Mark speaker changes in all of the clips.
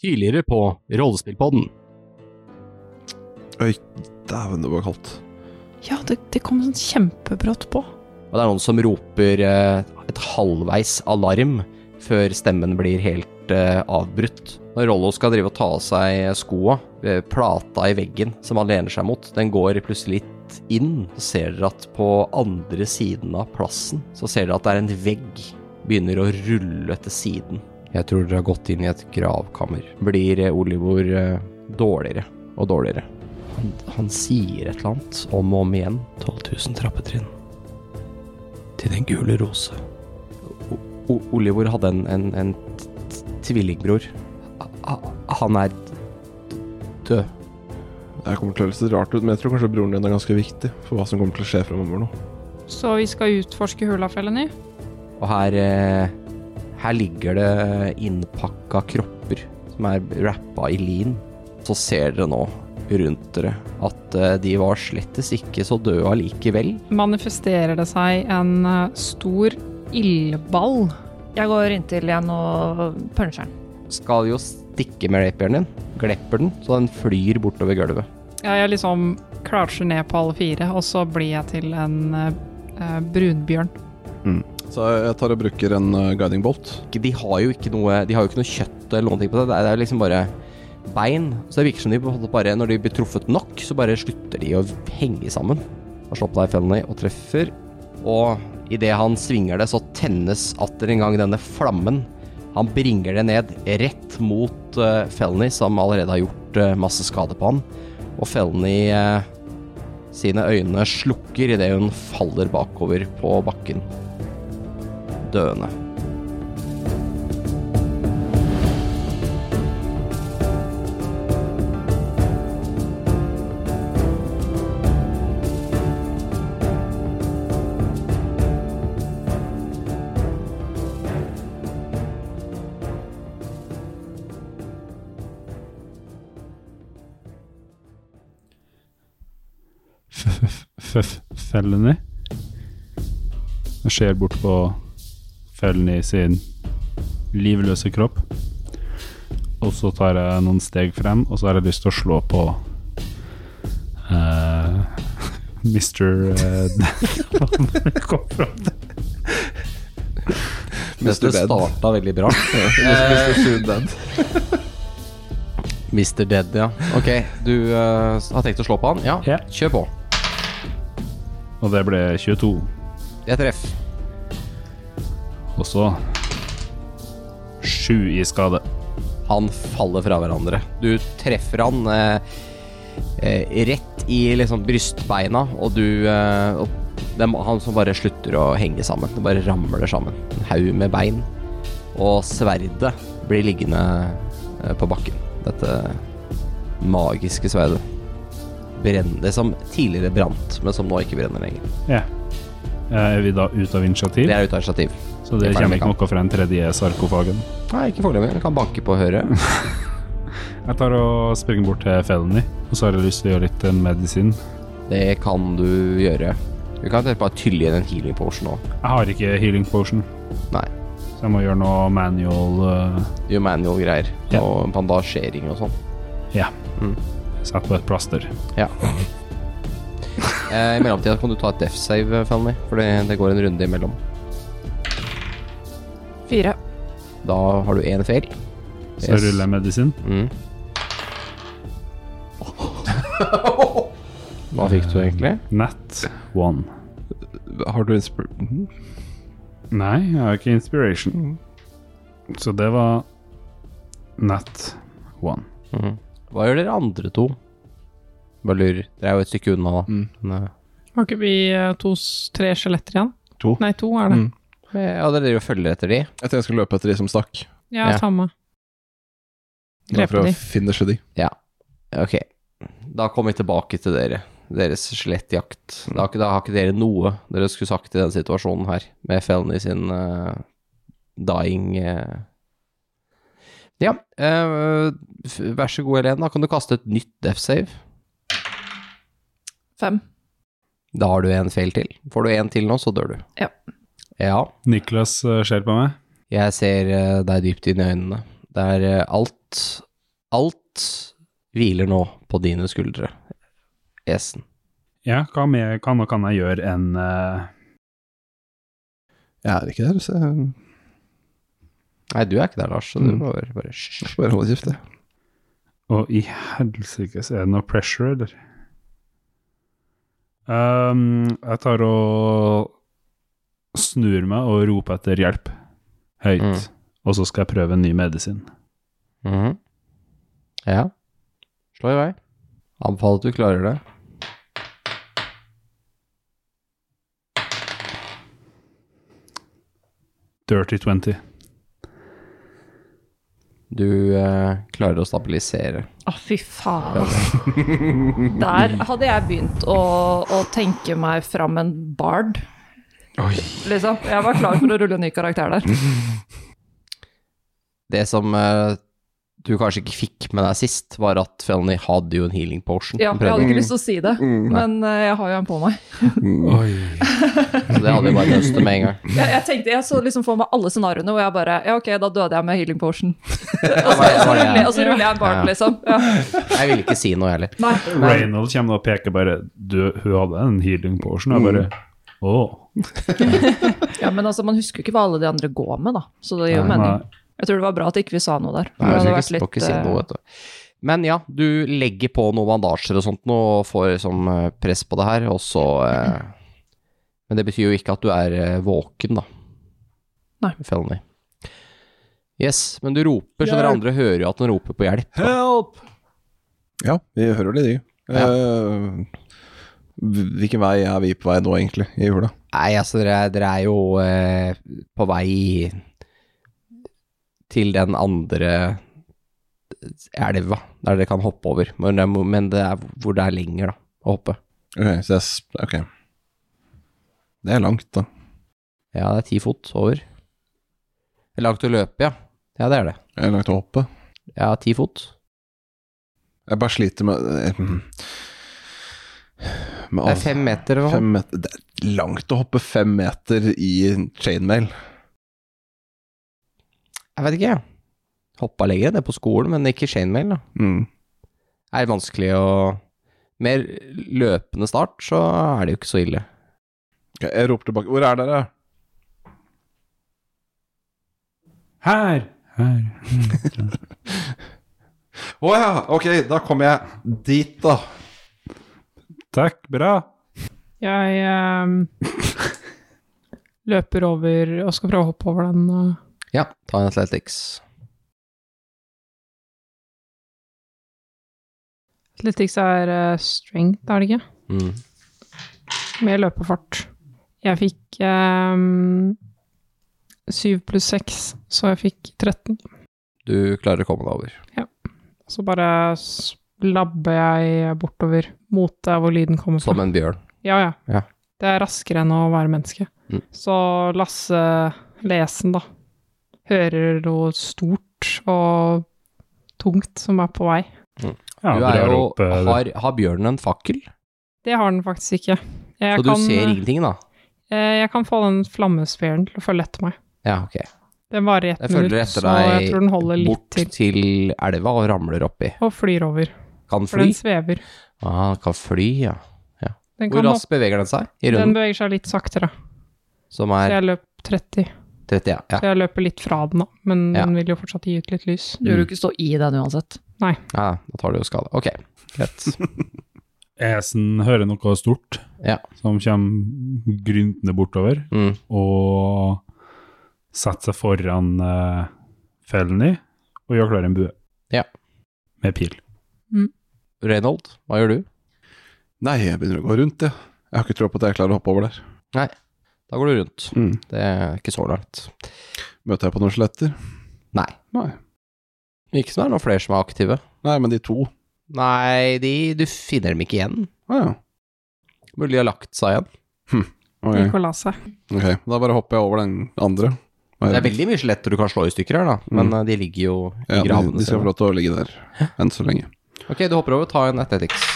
Speaker 1: tidligere på Rollespillpodden.
Speaker 2: Oi, dæven, det var kaldt.
Speaker 3: Ja, det, det kom sånn kjempebrått på.
Speaker 4: Og det er noen som roper eh, et halvveis alarm før stemmen blir helt eh, avbrutt. Når Rollo skal drive og ta av seg skoa, eh, plata i veggen som han lener seg mot, den går plutselig litt inn. Så ser dere at på andre siden av plassen, så ser dere at det er en vegg begynner å rulle til siden. Jeg tror dere har gått inn i et gravkammer. Blir eh, Olivor eh, dårligere og dårligere. Han, han sier et eller annet om og om igjen. 12 000 trappetrinn til den gule rose. O o Olivor hadde en, en, en t- t- tvillingbror. A- a- Han er d- død.
Speaker 2: Det her kommer til å høres litt rart ut, men jeg tror kanskje broren din er ganske viktig for hva som kommer til å skje fremover nå.
Speaker 5: Så vi skal utforske hulafellen i.
Speaker 4: Og her, eh, her ligger det innpakka kropper som er rappa i lin. Så ser dere nå rundt dere at eh, de var slettes ikke så døde allikevel.
Speaker 5: Manifesterer det seg en eh, stor ildball?
Speaker 6: Jeg går inntil igjen og puncher den.
Speaker 4: Skal jo stikke med rapieren din. Glepper den, så den flyr bortover gulvet.
Speaker 5: Ja, jeg liksom klatsjer ned på alle fire, og så blir jeg til en eh, eh, brunbjørn.
Speaker 2: Så jeg tar og bruker en eh, guiding bolt.
Speaker 4: ikke- De har jo ikke noe De har jo ikke noe kjøtt eller noen ting på det. Det er- Det er jo liksom bare bein. Så det virker som de på en måte bare Når de blir truffet nok, så bare slutter de å henge sammen. Han slår på deg, Felny, og treffer. Og idet han svinger det, så tennes atter en gang denne flammen. Han bringer det ned rett mot uh, Felny, som allerede har gjort eh, masse skade på han. Og Felny eh, sine øyne slukker idet hun faller bakover på bakken. Døende.
Speaker 7: Felny. Jeg ser bort på Felny sin livløse kropp. Og så tar jeg noen steg frem, og så har jeg lyst til å slå på eh, Mr. eh, hva kom fra?
Speaker 4: Dette
Speaker 2: Dead.
Speaker 4: starta veldig bra.
Speaker 2: Mr. Soon Dead.
Speaker 4: Mr. Dead, ja. Ok, du eh, har tenkt å slå på han? Ja,
Speaker 7: Ja.
Speaker 4: kjør på.
Speaker 7: Og det ble 22.
Speaker 4: Jeg treff.
Speaker 7: Og så 7 i skade.
Speaker 4: Han faller fra hverandre. Du treffer han eh, eh, rett i liksom brystbeina, og du eh, og det er Han som bare slutter å henge sammen. Det bare ramler sammen. En haug med bein. Og sverdet blir liggende eh, på bakken. Dette magiske sverdet. Brenner, det som tidligere brant, men som nå ikke brenner lenger.
Speaker 7: Ja. Eh, Er vi da ute av initiativ?
Speaker 4: Det er ute av initiativ.
Speaker 7: så
Speaker 4: det
Speaker 7: det
Speaker 4: er
Speaker 7: kommer
Speaker 4: ferdig
Speaker 7: ikke
Speaker 4: med
Speaker 7: noe fra den tredje sarkofagen?
Speaker 4: Nei, ikke foreløpig. Du kan banke på høret.
Speaker 7: Jeg tar og springer bort til Felny, og så har jeg lyst til å gjøre litt eh, medisin.
Speaker 4: Det kan du gjøre. Du kan bare bare tylle igjen en healing potion nå.
Speaker 7: Jeg har ikke healing potion,
Speaker 4: Nei,
Speaker 7: så jeg må gjøre noe manual eh,
Speaker 4: gjør manual greier.
Speaker 7: Ja.
Speaker 4: Og bandasjering og sånn.
Speaker 7: Ja.
Speaker 4: Mm.
Speaker 7: Satt på et plaster.
Speaker 4: Ja. Eh, I mellomtida kan du ta et death save, Fanny, for det, det går en runde imellom.
Speaker 3: Fire.
Speaker 4: Da har du én feil.
Speaker 7: Så
Speaker 4: Yes.
Speaker 7: ruller jeg medisin.
Speaker 4: Mm. Hva fikk du egentlig?
Speaker 7: Nat one.
Speaker 2: Har du inspir... Mhm.
Speaker 7: Nei, jeg har ikke
Speaker 4: Mm.
Speaker 7: inspiration. Så det var nat one.
Speaker 4: Hva gjør dere andre to? Bare lurer. Dere er jo et stykke unna, da.
Speaker 2: Mm.
Speaker 4: Men, eh,
Speaker 5: Har ikke vi eh, to, s- tre skjeletter igjen?
Speaker 2: To.
Speaker 5: Nei, to er det.
Speaker 2: Mm.
Speaker 4: eh, Ja, dere driver og følger etter de.
Speaker 2: Jeg tenkte jeg skulle løpe etter de som stakk.
Speaker 5: Ja,
Speaker 4: Ja.
Speaker 5: samme.
Speaker 2: Bare
Speaker 5: Drepe
Speaker 2: for å
Speaker 5: de.
Speaker 2: finishe de.
Speaker 4: Ok, da kommer vi tilbake til dere. Deres skjelettjakt. Da har ikke, da har ikke dere noe dere skulle sagt i denne situasjonen her, med Felny sin eh, dying eh. Ja, eh, f- vær så god, Helene. Da kan du kaste et nytt death save.
Speaker 3: Fem.
Speaker 4: Da har du en feil til. Får du en til nå, så dør du.
Speaker 3: Ja.
Speaker 4: Ja.
Speaker 7: Niklas eh, ser på meg.
Speaker 4: Jeg ser eh, deg dypt inn i øynene. Det er eh, alt Alt hviler nå på dine skuldre, Esen.
Speaker 7: Ja, hva mer kan, kan jeg gjøre enn eh,
Speaker 2: Jeg er ikke der, så jeg
Speaker 4: Nei, du er ikke der, Lars, så du
Speaker 2: Mm.
Speaker 4: må bare, bare hysj.
Speaker 2: får bare holde kjeft, jeg.
Speaker 7: Å, i helsike, så er det noe pressure, eller? Ehm, jeg tar og snur meg og roper etter hjelp høyt,
Speaker 4: Mm.
Speaker 7: og så skal jeg prøve en ny medisin.
Speaker 4: Mhm. Ja. Slå i vei. Anbefaler at du klarer det.
Speaker 7: Dirty 20.
Speaker 4: Du eh, klarer å stabilisere.
Speaker 6: Å, fy faen. Der hadde jeg begynt å, å tenke meg fram en bard. Liksom. Jeg var klar for å rulle en ny karakter
Speaker 4: Mm.
Speaker 6: der.
Speaker 4: Det som eh, du kanskje ikke fikk med deg sist, var at Felny hadde jo en healing potion.
Speaker 6: Ja,
Speaker 4: Hun
Speaker 6: jeg
Speaker 4: prøvde
Speaker 6: hadde ikke lyst til å si det,
Speaker 4: Mm.
Speaker 6: men eh, jeg har jo en på meg.
Speaker 4: den, Så det hadde vi bare løst det med en gang.
Speaker 6: Jeg, jeg tenkte, jeg så liksom for meg alle scenarioene hvor jeg bare Ja, ok, da døde jeg med healing potion. Og så,
Speaker 4: det
Speaker 6: så,
Speaker 4: var det.
Speaker 6: ruller, jeg- og så ruller jeg en bard,
Speaker 4: Ja.
Speaker 6: liksom. Ja.
Speaker 4: Jeg ville ikke si noe, jeg heller.
Speaker 6: Nei.
Speaker 7: Reynold kommer og peker bare du, Hun hadde en healing portion.
Speaker 4: Mm.
Speaker 7: og Jeg bare Å.
Speaker 6: Ja, men altså, man husker jo ikke hva alle de andre går med, da. Så det gir jo mening.
Speaker 7: Nei.
Speaker 6: Jeg tror det var bra at ikke vi sa noe der.
Speaker 4: Nei, jeg
Speaker 6: Det hadde
Speaker 4: skal
Speaker 6: vært
Speaker 4: ikke, skal ikke si
Speaker 6: eh,
Speaker 4: noe, vet du. Men ja, du legger på noen bandasjer og sånt nå, og får liksom eh, press på det her, og så eh, Men det betyr jo ikke at du er eh, våken, da.
Speaker 6: Nei.
Speaker 4: Felony. Yes, men du roper, så dere andre hører jo at den roper på hjelp. da.
Speaker 2: Ja, vi hører det, de. Eh,
Speaker 4: Ja.
Speaker 2: hvilken vei er vi på vei nå, egentlig, i jula?
Speaker 4: Nei, altså, dere, er- dere er jo eh, på vei til den andre eh, elva, der dere kan hoppe over. Men det er, men det er hvor det er lenger, da, å hoppe.
Speaker 2: Ok, så jeg s- Ok. Det er langt, da.
Speaker 4: Ja, det er ti fot over. Det er langt å løpe, ja. Ja, det er det.
Speaker 2: Det er langt å hoppe.
Speaker 4: Ja, ti fot.
Speaker 2: Jeg bare sliter med eh, mm. med
Speaker 4: Det
Speaker 2: alt.
Speaker 4: er fem meter. Eller? noe.
Speaker 2: Fem meter Det er langt å hoppe fem meter i chainmail.
Speaker 4: Jeg vet ikke, jeg. Hoppa lenger enn det på skolen, men ikke chainmail, da.
Speaker 2: Mm.
Speaker 4: Er det vanskelig å Mer løpende start, så er det jo ikke så ille.
Speaker 2: Ok, Jeg roper tilbake Hvor er dere?
Speaker 7: Her! Her.
Speaker 2: Å ja, ok, da kommer jeg dit, da.
Speaker 7: Takk, bra.
Speaker 3: Jeg ehm, løper over og skal prøve å hoppe over den. eh.
Speaker 4: Ja, ta en athletics.
Speaker 3: Athletics er eh, strength, er det ikke?
Speaker 4: Mm.
Speaker 3: Med løpefart. Jeg fikk ehm, 7 pluss 6, så jeg fikk 13.
Speaker 4: Du klarer å komme deg over.
Speaker 3: Så bare labber jeg bortover mot der hvor lyden kommer fra.
Speaker 4: Som en bjørn.
Speaker 3: Ja, ja.
Speaker 4: Ja.
Speaker 3: Det er raskere enn å være menneske.
Speaker 4: Mm.
Speaker 3: Så Lasse Lesen, da, hører noe stort og tungt som er på vei.
Speaker 7: Ja,
Speaker 4: du er
Speaker 7: drar
Speaker 4: jo
Speaker 7: opp, eh,
Speaker 4: har, har bjørnen en fakkel?
Speaker 3: Det har den faktisk ikke. Jeg
Speaker 4: så du ser ingenting, da?
Speaker 3: eh, Jeg kan få den flammesfæren til å følge etter meg.
Speaker 4: Ja, ok.
Speaker 3: Den varer i ett
Speaker 4: Jeg følger
Speaker 3: minutt,
Speaker 4: etter
Speaker 3: så jeg tror den holder
Speaker 4: deg
Speaker 3: litt
Speaker 4: bort
Speaker 3: til.
Speaker 4: til elva og ramler oppi.
Speaker 3: Og flyr over,
Speaker 4: Kan
Speaker 3: for
Speaker 4: fly?
Speaker 3: den svever.
Speaker 4: Ah, kan fly, ja.
Speaker 3: Den,
Speaker 4: Hvor
Speaker 3: kan
Speaker 4: raskt beveger den seg i
Speaker 3: hoppe- den
Speaker 4: runden?
Speaker 3: beveger seg litt saktere,
Speaker 4: Som
Speaker 3: så
Speaker 4: er
Speaker 3: jeg løp 30.
Speaker 4: 30, ja. ja.
Speaker 3: Så jeg løper litt fra den, da, men
Speaker 4: Ja.
Speaker 3: den vil jo fortsatt gi ut litt lys.
Speaker 4: Mm.
Speaker 6: Du vil jo ikke stå i den uansett.
Speaker 4: Ja, da tar du jo skade. Ok, greit.
Speaker 7: Esen hører noe stort
Speaker 4: Ja.
Speaker 7: som kommer gryntende bortover
Speaker 4: Mm.
Speaker 7: og setter seg foran uh, fellen i og gjør klar en bue.
Speaker 4: Ja.
Speaker 7: Med pil.
Speaker 4: Reynold, hva gjør du?
Speaker 2: Nei, jeg begynner å gå rundt, jeg. Jeg har ikke tro på at jeg klarer å hoppe over der.
Speaker 4: Da går du rundt.
Speaker 2: Mm.
Speaker 4: Det er ikke så langt.
Speaker 2: Møter jeg på noen skjeletter?
Speaker 4: Nei.
Speaker 2: Nei.
Speaker 4: Ikke som det er noen flere som er aktive.
Speaker 2: Nei, men de to.
Speaker 4: Nei, de, du finner dem ikke igjen.
Speaker 2: Å ja.
Speaker 4: Mulig de har lagt seg igjen.
Speaker 2: Ok,
Speaker 3: Gikk og la seg.
Speaker 2: ok. Da bare hopper jeg over den andre.
Speaker 4: Det er veldig mye skjeletter du kan slå i stykker her, da. Men eh, de ligger jo i
Speaker 2: Mm. ja, de,
Speaker 4: gravene
Speaker 2: de skal
Speaker 4: sine.
Speaker 2: få lov til å ligge der enn så lenge.
Speaker 4: Ok, du hopper over. Ta en athletics.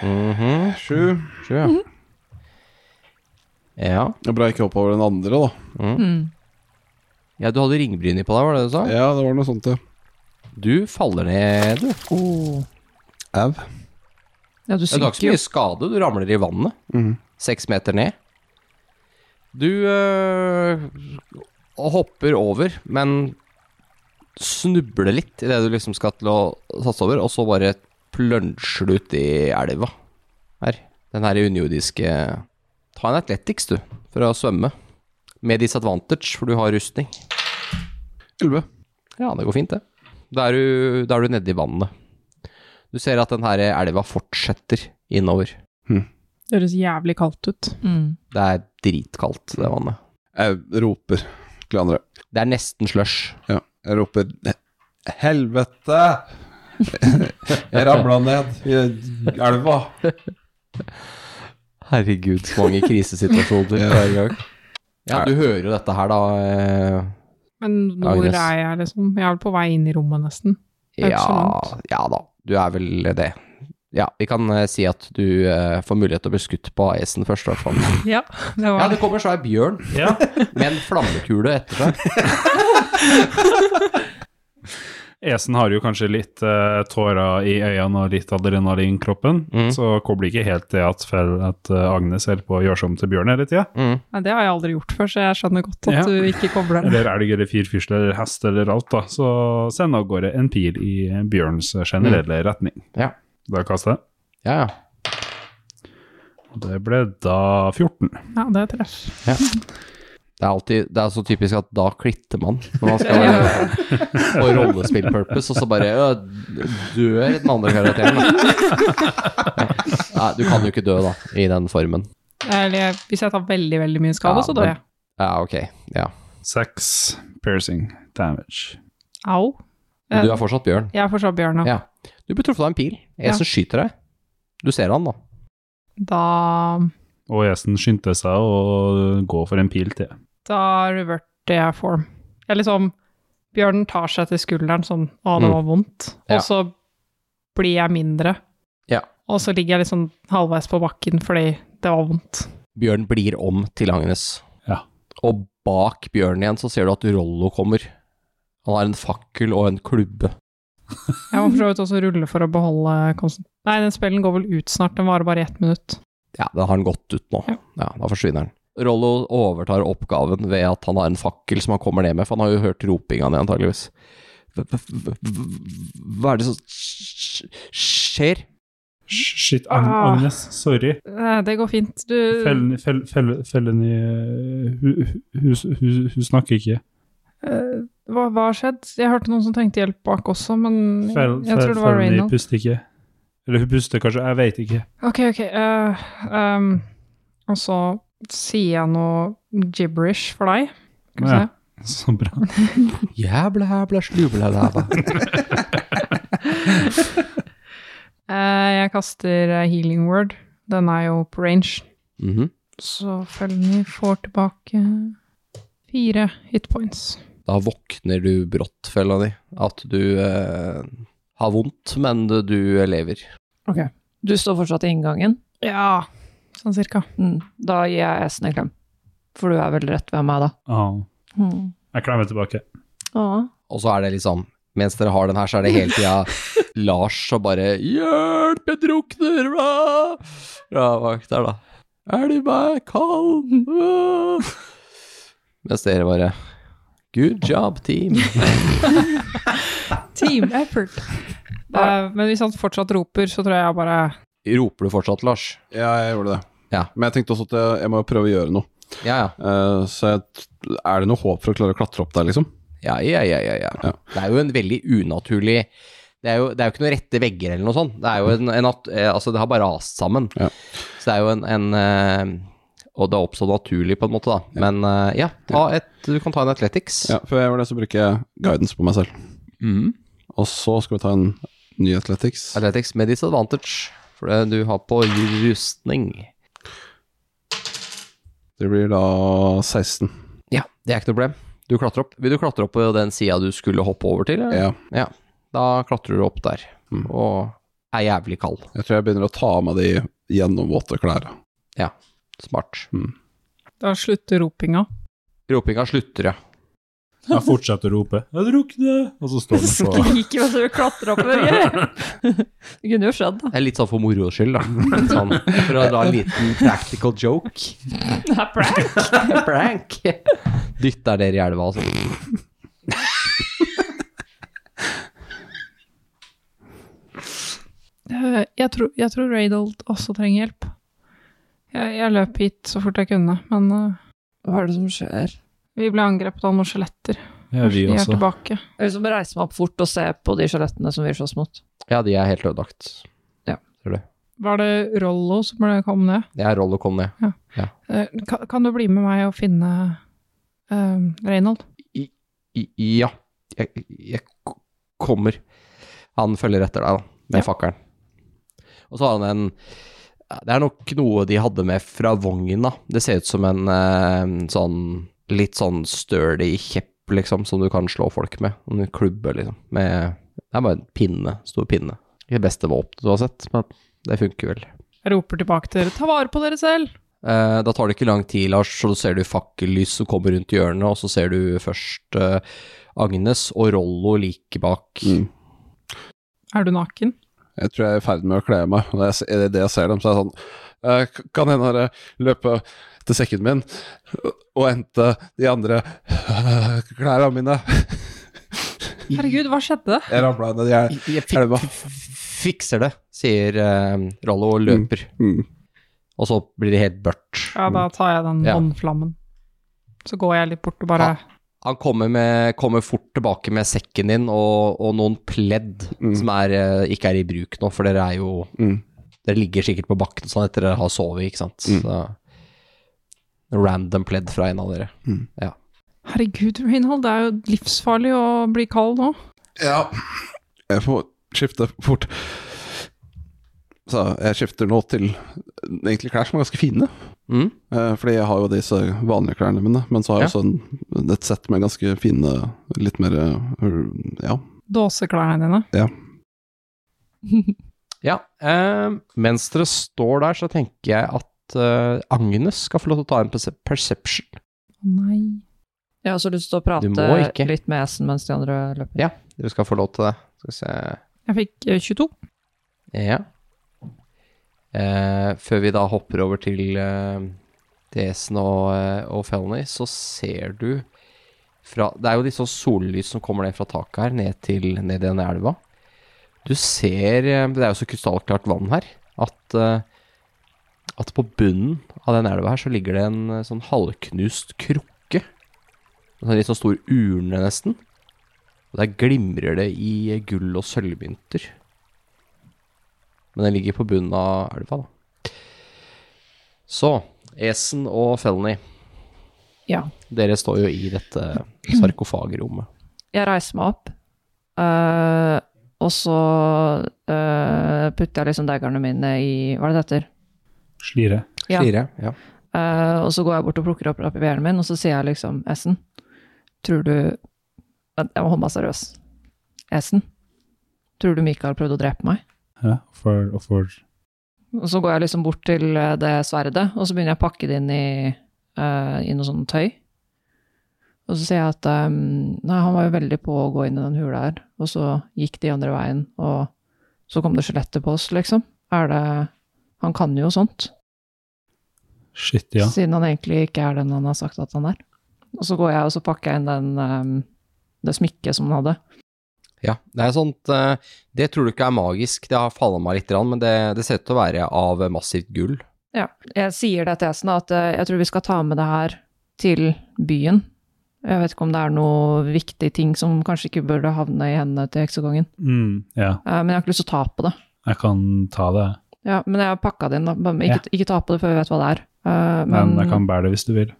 Speaker 4: Mhm,
Speaker 2: Sju.
Speaker 4: sju, ja.
Speaker 3: Mhm.
Speaker 4: Ja.
Speaker 2: Det er bra jeg ikke hopper over den andre, da.
Speaker 4: Ja, du hadde ringbryny på deg, var det du sa?
Speaker 2: Ja, det var noe sånt, ja.
Speaker 4: Du faller ned, du.
Speaker 2: Au.
Speaker 3: Ja, du
Speaker 4: Ja, Du har ikke så
Speaker 3: synker jo.
Speaker 4: mye skade, du ramler i vannet. Seks meter ned. Du øh, hopper over, men snubler litt idet du liksom skal til å satse over, og så bare plunsjer du uti elva. Her. Den her unjordiske Ta en Athletics, du, for å svømme. Med disadvantage, for du har rustning.
Speaker 2: Elleve.
Speaker 4: Ja, det går fint, det. Da er du, da er du nede i vannet. Du ser at den her elva fortsetter innover.
Speaker 3: Det høres jævlig kaldt ut.
Speaker 6: Mm.
Speaker 4: Det er dritkaldt, det vannet.
Speaker 2: Jeg roper til de andre.
Speaker 4: Det er nesten slush.
Speaker 2: Ja. Jeg roper "He- Helvete! Jeg ramla ned i elva.
Speaker 4: Herregud, så mange krisesituasjoner hver gang. Ja, du hører jo dette her, da. eh,
Speaker 3: Men hvor
Speaker 4: Agnes.
Speaker 3: er jeg, liksom? Jeg er vel på vei inn i rommet, nesten. Det er ikke så
Speaker 4: Ja,
Speaker 3: langt.
Speaker 4: ja da, du er vel det. Ja, vi kan eh, si at du eh, får mulighet til å bli skutt på AS-en først, i hvert fall.
Speaker 3: Ja, det
Speaker 4: Ja,
Speaker 3: var
Speaker 4: det kommer svær bjørn
Speaker 7: Ja.
Speaker 4: med en flammekule etter seg.
Speaker 7: Esen har jo kanskje litt eh, tårer i øynene og litt adrenalin i kroppen,
Speaker 4: Mm.
Speaker 7: så kobler ikke helt det at, fel- at eh, Agnes holder på å gjøre seg om til bjørn hele tida.
Speaker 4: Mm.
Speaker 3: Nei, det har jeg aldri gjort før, så jeg skjønner godt at
Speaker 7: Ja.
Speaker 3: du ikke kobler det.
Speaker 7: Eller elg eller firfisle eller hest eller alt, da. Så send av gårde en pil i bjørns
Speaker 4: Mm.
Speaker 7: generelle retning.
Speaker 4: Ja.
Speaker 7: Da kaster jeg.
Speaker 4: Ja, ja.
Speaker 7: Og Det ble da 14.
Speaker 3: Ja, det er treff.
Speaker 4: Det er, alltid, det er så typisk at da klitter man når man skal være på rollespill-purpose, og så bare ø, dør den andre karakteren. da. Nei, du kan jo ikke dø, da, i den formen.
Speaker 3: Eller hvis jeg tar veldig, veldig mye skade,
Speaker 4: Ja,
Speaker 3: så dør
Speaker 4: men-
Speaker 3: jeg.
Speaker 4: Ja, ok. Ja.
Speaker 7: 6 piercing damage.
Speaker 3: Au.
Speaker 4: Men du er fortsatt bjørn.
Speaker 3: Jeg er fortsatt bjørn nå.
Speaker 4: Ja. Du blir truffet av en pil. Esen skyter deg. Du ser han, da.
Speaker 3: Da,
Speaker 7: Og Esen skyndte seg å gå for en pil til.
Speaker 3: da reverter jeg form. Jeg liksom Bjørnen tar seg til skulderen sånn Å, det
Speaker 4: Mm.
Speaker 3: var vondt.
Speaker 4: Ja.
Speaker 3: Og så blir jeg mindre.
Speaker 4: Ja.
Speaker 3: Og så ligger jeg liksom halvveis på bakken fordi det var vondt.
Speaker 4: Bjørn blir om til Agnes.
Speaker 7: Ja.
Speaker 4: Og bak bjørnen igjen så ser du at Rollo kommer. Han har en fakkel og en klubbe.
Speaker 3: Jeg må for så vidt også rulle for å beholde konsen... Nei, den spellen går vel ut snart. Den varer bare i ett minutt.
Speaker 4: Ja, da har han gått ut nå.
Speaker 3: Ja.
Speaker 4: Ja, da forsvinner han. Rollo overtar oppgaven ved at han har en fakkel som han kommer ned med, for han har jo hørt ropinga ned, antageligvis. Hva- hva- Hva hva er det som sk- skjer?
Speaker 7: Shit,
Speaker 3: Ag- Ah.
Speaker 7: Agnes, sorry.
Speaker 3: Eh, Det går fint. Du
Speaker 7: Fellen, fell, fell, fellen i hun, hun, hun, hun snakker ikke.
Speaker 3: Eh, hva, hva har skjedd? Jeg hørte noen som trengte hjelp bak også, men jeg-
Speaker 7: Fell,
Speaker 3: jeg
Speaker 7: fell,
Speaker 3: tror det var
Speaker 7: fellen i
Speaker 3: Reynold.
Speaker 7: puster ikke. Eller hun puster kanskje, jeg vet ikke.
Speaker 3: Ok, ok. eh, ehm, og så sier jeg noe gibberish for deg. Skal vi se.
Speaker 7: Ja. Så bra.
Speaker 4: Jævla hæbla slubla dæva.
Speaker 3: Eh, jeg kaster eh, healing word. Den er jo på range.
Speaker 4: Mhm.
Speaker 3: Så følgende får tilbake fire hit points.
Speaker 4: Da våkner du brått, fella di. At du eh, har vondt, men du- du lever.
Speaker 6: Du står fortsatt i inngangen.
Speaker 3: Ja, sånn cirka.
Speaker 6: Mm. Da gir jeg Esen en klem. For du er vel rett ved meg, da.
Speaker 7: Ah.
Speaker 6: Mm.
Speaker 7: Jeg klemmer tilbake.
Speaker 6: Ah.
Speaker 4: Og så er det liksom Mens dere har den her, så er det hele tida Lars som bare 'Hjelp, jeg drukner!' hva?» Fra bak der, da. 'Er du meg kald?' hva?» Mens dere bare 'Good job, team'.
Speaker 6: Team effort.
Speaker 3: Eh, men hvis han fortsatt roper, så tror jeg jeg bare
Speaker 4: Roper du fortsatt, Lars?
Speaker 2: Ja, jeg gjorde det.
Speaker 4: Ja.
Speaker 2: Men jeg tenkte også at jeg, jeg må prøve å gjøre noe.
Speaker 4: Ja, ja.
Speaker 2: Eh, så jeg, er det noe håp for å klare å klatre opp der, liksom?
Speaker 4: Ja, ja, ja, ja, ja.
Speaker 2: Ja.
Speaker 4: Det er jo en veldig unaturlig det er, jo, det er jo ikke noen rette vegger eller noe sånt. Det er jo en, en at, eh, altså det har bare rast sammen.
Speaker 2: Ja.
Speaker 4: Så det er jo en, en eh, Og det har oppstått naturlig, på en måte, da. Men eh, ja, ta et, du kan ta en Athletics.
Speaker 2: Ja, Før jeg gjør det, så bruker jeg guidance på meg selv.
Speaker 4: Mhm.
Speaker 2: Og så skal vi ta en ny athletics.
Speaker 4: Athletics med disadvantage, for det du har på rustning.
Speaker 2: Det blir da 16.
Speaker 4: Ja, det er ikke noe problem. Du klatrer opp. Vil du klatre opp på den sida du skulle hoppe over til? eller?
Speaker 2: Ja.
Speaker 4: Da klatrer du opp der,
Speaker 2: Mm.
Speaker 4: og er jævlig kald.
Speaker 2: Jeg tror jeg begynner å ta av meg de gjennomvåte klærne.
Speaker 4: Smart.
Speaker 3: Da slutter ropinga.
Speaker 4: Ropinga slutter, ja.
Speaker 7: Jeg fortsetter å rope 'Jeg drukner!' Og så står han på
Speaker 6: Skriker mens du klatrer oppover. Det kunne jo skjedd, da.
Speaker 4: Det er litt sånn for moro skyld, da. Sånn, for å dra en liten practical joke.
Speaker 6: Det er prank.
Speaker 4: Prank. Dytter dere i elva, altså.
Speaker 5: Eh, Jeg tror, jeg tror Reynold også trenger hjelp. Jeg, jeg løp hit så fort jeg kunne, men eh,
Speaker 6: Hva er det som skjer?
Speaker 5: vi ble angrepet av noen skjeletter.
Speaker 7: Ja, vi
Speaker 5: de er
Speaker 7: også.
Speaker 5: tilbake.
Speaker 6: Jeg vil liksom reise meg opp fort og se på de skjelettene som vi slåss mot.
Speaker 4: Ja, de er helt ødelagt.
Speaker 5: Var det Rollo som ble kom ned?
Speaker 4: Det er roll og kom ned.
Speaker 5: Eh, Kan, kan du bli med meg og finne um, Reynold?
Speaker 4: I- Ja, jeg, jeg k- kommer. Han følger etter deg, da, med fakkelen. Og så har han en Det er nok noe de hadde med fra vognen, da. Det ser ut som en eh, sånn litt sånn sturdy kjepp, liksom, som du kan slå folk med. En klubbe, liksom. Med Det er bare en pinne. Stor pinne. Ikke det beste våpenet du har sett, men det funker vel.
Speaker 5: Jeg roper tilbake til dere, ta vare på dere selv!
Speaker 4: Eh, Da tar det ikke lang tid, Lars, så ser du fakkellys som kommer rundt hjørnet, og så ser du først eh, Agnes og Rollo like bak.
Speaker 2: Mm.
Speaker 5: Er du naken?
Speaker 2: Jeg tror jeg er i ferd med å kle meg. Og det er det- det jeg ser dem, så er jeg sånn eh, k- Kan hende dere løpe til sekken min og hente de andre klærne mine.
Speaker 5: Herregud, hva skjedde?
Speaker 2: Jeg ramla ned i el-
Speaker 4: Jeg fik
Speaker 2: elva.
Speaker 4: fikser det, sier eh, Rollo og løper.
Speaker 2: Mm.
Speaker 4: Og så blir det helt mørkt.
Speaker 5: Ja, da tar jeg den
Speaker 4: Ja.
Speaker 5: vannflammen. Så går jeg litt bort og bare
Speaker 4: Han kommer, med, kommer fort tilbake med sekken din og, og noen pledd
Speaker 2: Mm.
Speaker 4: som er, eh, ikke er i bruk nå, for dere er jo
Speaker 2: Mm.
Speaker 4: Dere ligger sikkert på bakken sånn etter dere har sovet, ikke sant.
Speaker 2: Mm.
Speaker 4: Så, random pledd fra en av dere.
Speaker 5: Herregud, Reynold, det er jo livsfarlig å bli kald nå.
Speaker 2: Ja, jeg får skifte fort. Så jeg skifter nå til egentlig klær som er ganske fine.
Speaker 4: Mm?
Speaker 2: Eh, Fordi jeg har jo disse vanlige klærne mine, men så har jeg
Speaker 4: Ja.
Speaker 2: også en, et sett med ganske fine, litt mer eh, Ja.
Speaker 5: Dåseklærne dine.
Speaker 4: Ja, eh, mens dere står der, så tenker jeg at eh, Agnes skal få lov til å ta en perce- perception.
Speaker 5: Å nei.
Speaker 6: Jeg har også lyst til å
Speaker 4: Du må
Speaker 6: prate
Speaker 4: ikke.
Speaker 6: litt med Esen mens de andre løper.
Speaker 4: Dere skal få lov til det. Skal vi se
Speaker 5: Jeg fikk eh, 22.
Speaker 4: Ja. Eh, før vi da hopper over til eh, DS-en og, eh, og Felny, så ser du fra Det er jo litt sånn sollys som kommer ned fra taket her, ned til ned i denne elva. Du ser eh, Det er jo så krystallklart vann her at eh, at på bunnen av den elva her så ligger det en eh, sånn halvknust krukke. En sånn litt sånn stor urne, nesten. Og der glimrer det i eh, gull og sølvmynter. Men den ligger på bunnen av elva, da. Så Esen og Felny,
Speaker 6: Ja.
Speaker 4: dere står jo i dette sarkofagrommet.
Speaker 6: Jeg reiser meg opp, øh, og så øh, putter jeg liksom daggerne mine i Hva er det det heter?
Speaker 7: Slire.
Speaker 6: Ja.
Speaker 4: Fire, ja.
Speaker 6: Eh, og så går jeg bort og plukker opp rapiveren min, og så sier jeg liksom Essen, tror du Vent, Jeg må holde meg seriøs. Essen, tror du Mikael prøvde å drepe meg?
Speaker 7: Ja, for, og for
Speaker 6: Og så går jeg liksom bort til eh, det sverdet, og så begynner jeg å pakke det inn i, eh, i noe sånn tøy. Og så sier jeg at eh, nei, han var jo veldig på å gå inn i den hula her, og så gikk de andre veien, og så kom det skjeletter på oss, liksom. Er det Han kan jo sånt.
Speaker 7: Shit, ja.
Speaker 6: siden han egentlig ikke er den han har sagt at han er. Og så går jeg og så pakker jeg inn den, ehm, det smykket som han hadde.
Speaker 4: Ja, det er sånt eh, Det tror du ikke er magisk, det har falla meg litt, grann, men det, det ser ut til å være av massivt gull.
Speaker 6: Ja, jeg sier det til Esen da, at eh, jeg tror vi skal ta med det her til byen. Jeg vet ikke om det er noe viktig ting som kanskje ikke burde havne i hendene til heksekongen.
Speaker 7: Mm, ja,
Speaker 6: Eh, Men jeg har ikke lyst til å ta på det.
Speaker 7: jeg kan ta det,
Speaker 6: Ja, men jeg har pakka det inn, da. Bare Ikke, ikke ta på det før vi vet hva det er. Eh,
Speaker 7: men jeg kan bære det hvis du vil.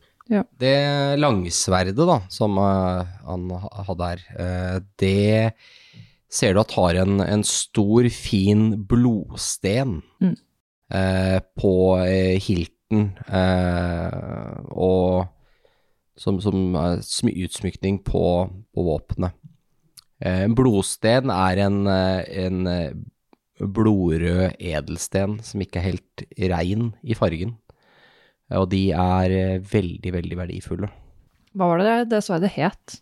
Speaker 4: Det langsverdet da, som eh, han ha- hadde her, eh, det ser du at har en, en stor, fin blodsten
Speaker 6: Mm.
Speaker 4: eh, på eh, hilten, eh, og som, som eh, smy- utsmykning på, på våpenet. Eh, En blodsten er en, eh, en eh, blodrød edelsten som ikke er helt rein i fargen. Og de er eh, veldig, veldig verdifulle.
Speaker 6: Hva var det det sverdet het?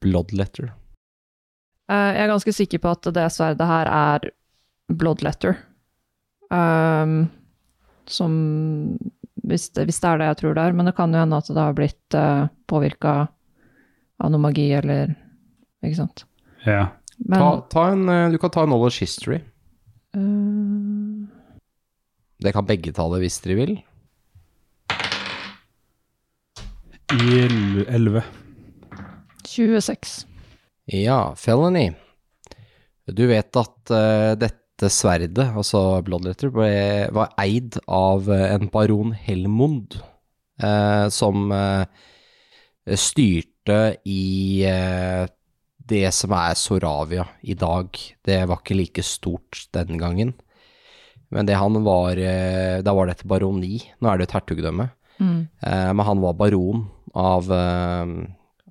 Speaker 4: Bloodletter.
Speaker 6: Eh, jeg er ganske sikker på at det sverdet her er bloodletter. Ehm, som hvis det, hvis det er det jeg tror det er. Men det kan jo hende at det har blitt uh, påvirka av noe magi eller Ikke sant.
Speaker 7: Ja.
Speaker 6: Men
Speaker 4: ta, ta en, eh, du kan ta en knowledge history.
Speaker 6: eh,
Speaker 4: Det kan begge ta det hvis dere vil.
Speaker 7: I el- 11.
Speaker 6: 26.
Speaker 4: Ja, felony. Du vet at eh, dette sverdet, altså Bloodletter, ble, var eid av eh, en baron Helmond, eh, som eh, styrte i eh, det som er Soravia i dag. Det var ikke like stort den gangen. Men det han var, eh, da var det et baroni, nå er det et hertugdømme.
Speaker 6: Mm.
Speaker 4: Eh, men han var baron av, eh,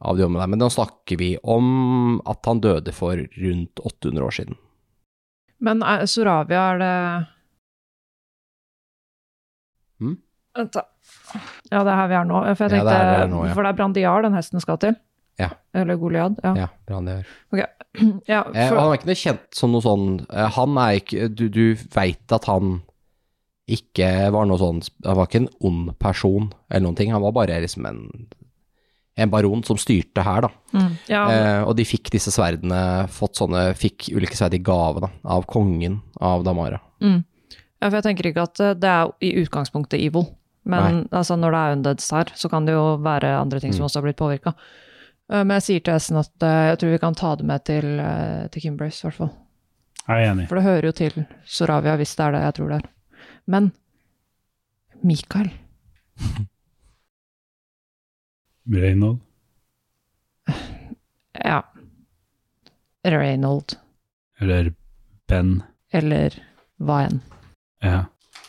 Speaker 4: av de områdene. der. Men nå snakker vi om at han døde for rundt 800 år siden.
Speaker 6: Men er, Soravia er det
Speaker 4: Mm.
Speaker 6: Vent, da. Ja, det er her vi er nå. For, jeg
Speaker 4: Ja, det
Speaker 6: tenkte,
Speaker 4: er her vi er nå, ja.
Speaker 6: for det er Brandiar den hesten skal til.
Speaker 4: Ja.
Speaker 6: Eller Goliad. Ja.
Speaker 4: Ja, Brandiar.
Speaker 6: Ja,
Speaker 4: Eh, og
Speaker 6: for,
Speaker 4: han er ikke noe kjent som noe sånn eh, Han er ikke Du, du veit at han ikke var noe sånn Han var ikke en ond person eller noen ting. Han var bare liksom en, en baron som styrte her, da.
Speaker 6: mm, ja,
Speaker 4: Eh, og de fikk disse sverdene, fått sånne Fikk ulike sverd i gave, da, av kongen av Damara.
Speaker 6: ja, for jeg tenker ikke at eh, det er i utgangspunktet evil. Men altså, når det er undeads her, så kan det jo være andre ting
Speaker 4: Mm.
Speaker 6: som også har blitt påvirka. Men jeg sier til hesten at eh, jeg tror vi kan ta det med til, eh, til Kimbrace, i hvert fall.
Speaker 7: Jeg er enig.
Speaker 6: For det hører jo til Soravia, hvis det er det jeg tror det er. Men Mikael,
Speaker 7: Reynold.
Speaker 6: ja Reynold,
Speaker 7: Eller Ben.
Speaker 6: eller hva enn.
Speaker 7: Ja.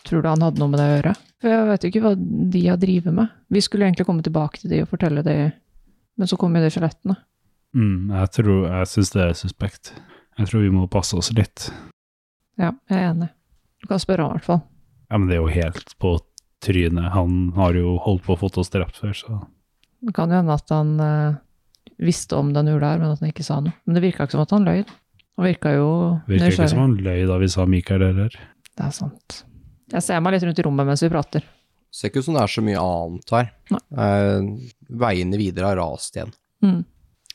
Speaker 6: Tror du han hadde noe med det å gjøre? For jeg vet jo ikke hva de har drevet med. Vi skulle egentlig komme tilbake til de og fortelle de, men så kom jo de skjelettene.
Speaker 7: Mm, jeg tror Jeg syns det er suspekt. Jeg tror vi må passe oss litt.
Speaker 6: Ja, jeg er enig. Du kan spørre han i hvert fall.
Speaker 7: Ja, men det er jo helt på trynet. Han har jo holdt på å få oss drept før, så
Speaker 6: Det kan jo hende at han eh, visste om den ula her, men at han ikke sa noe. Men det virka ikke som at han løy. Han virka jo
Speaker 7: virker ikke som
Speaker 6: nysgjerrig.
Speaker 7: han løy da vi sa Mikael heller.
Speaker 6: Det er sant. Jeg ser meg litt rundt i rommet mens vi prater.
Speaker 4: Ser ikke ut som det er så mye annet her. Eh, veiene videre har rast igjen.
Speaker 6: Mm.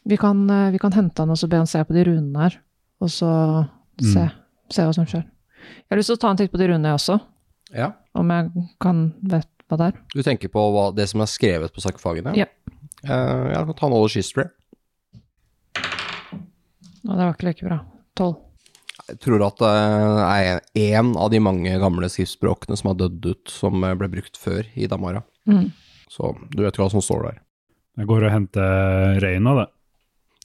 Speaker 6: Vi, kan, eh, vi kan hente han og så be han se på de runene her, og så se,
Speaker 7: Mm.
Speaker 6: se hva som skjer. Jeg har lyst til å ta en titt på de runene jeg også,
Speaker 4: Ja.
Speaker 6: om jeg kan vet hva det er.
Speaker 4: Du tenker på hva, det som er skrevet på sarkofagene?
Speaker 6: Ja.
Speaker 4: Eh, ja, ta knowledge history.
Speaker 6: Nå, det var ikke like bra. Tolv.
Speaker 4: Jeg tror at det er én av de mange gamle skriftspråkene som har dødd ut, som eh, ble brukt før i Damara.
Speaker 6: Mm.
Speaker 4: Så du vet hva som står der.
Speaker 7: Jeg går og henter Reina, det.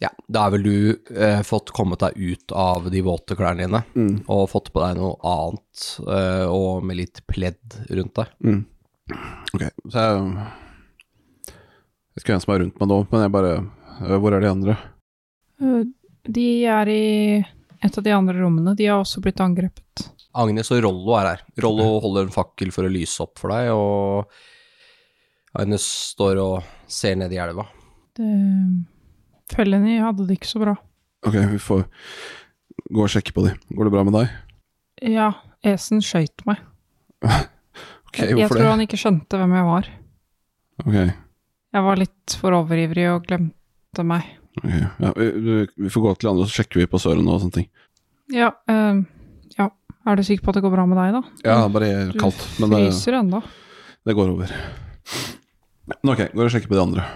Speaker 4: Ja, da er vel du eh, fått kommet deg ut av de våte klærne dine,
Speaker 2: Mm.
Speaker 4: og fått på deg noe annet, eh, og med litt pledd rundt deg.
Speaker 2: Mm. Ok, så jeg Jeg vet ikke hvem som er rundt meg nå, men jeg bare øh, Hvor er de andre?
Speaker 3: Eh, De er i et av de andre rommene. De har også blitt angrepet.
Speaker 4: Agnes og Rollo er her. Rollo holder en fakkel for å lyse opp for deg, og Agnes står og ser ned i elva.
Speaker 3: Det, fellene hadde det ikke så bra.
Speaker 2: Ok, vi får gå og sjekke på de. Går det bra med deg?
Speaker 3: Ja, Esen skøyt meg.
Speaker 2: Ok,
Speaker 3: jeg
Speaker 2: hvorfor
Speaker 3: tror
Speaker 2: det?
Speaker 3: han ikke skjønte hvem jeg var.
Speaker 2: Ok,
Speaker 3: Jeg var litt for overivrig og glemte meg.
Speaker 2: ok. Ja, vi, vi- vi får gå til de andre, så sjekker vi på Søren og sånne ting.
Speaker 3: Ja, eh, ja. Er du sikker på at det går bra med deg, da?
Speaker 2: Ja, det er bare
Speaker 3: Mm. Du
Speaker 2: kaldt, men det,
Speaker 3: fryser ennå.
Speaker 2: det går over. Men ok, går og sjekker på de andre.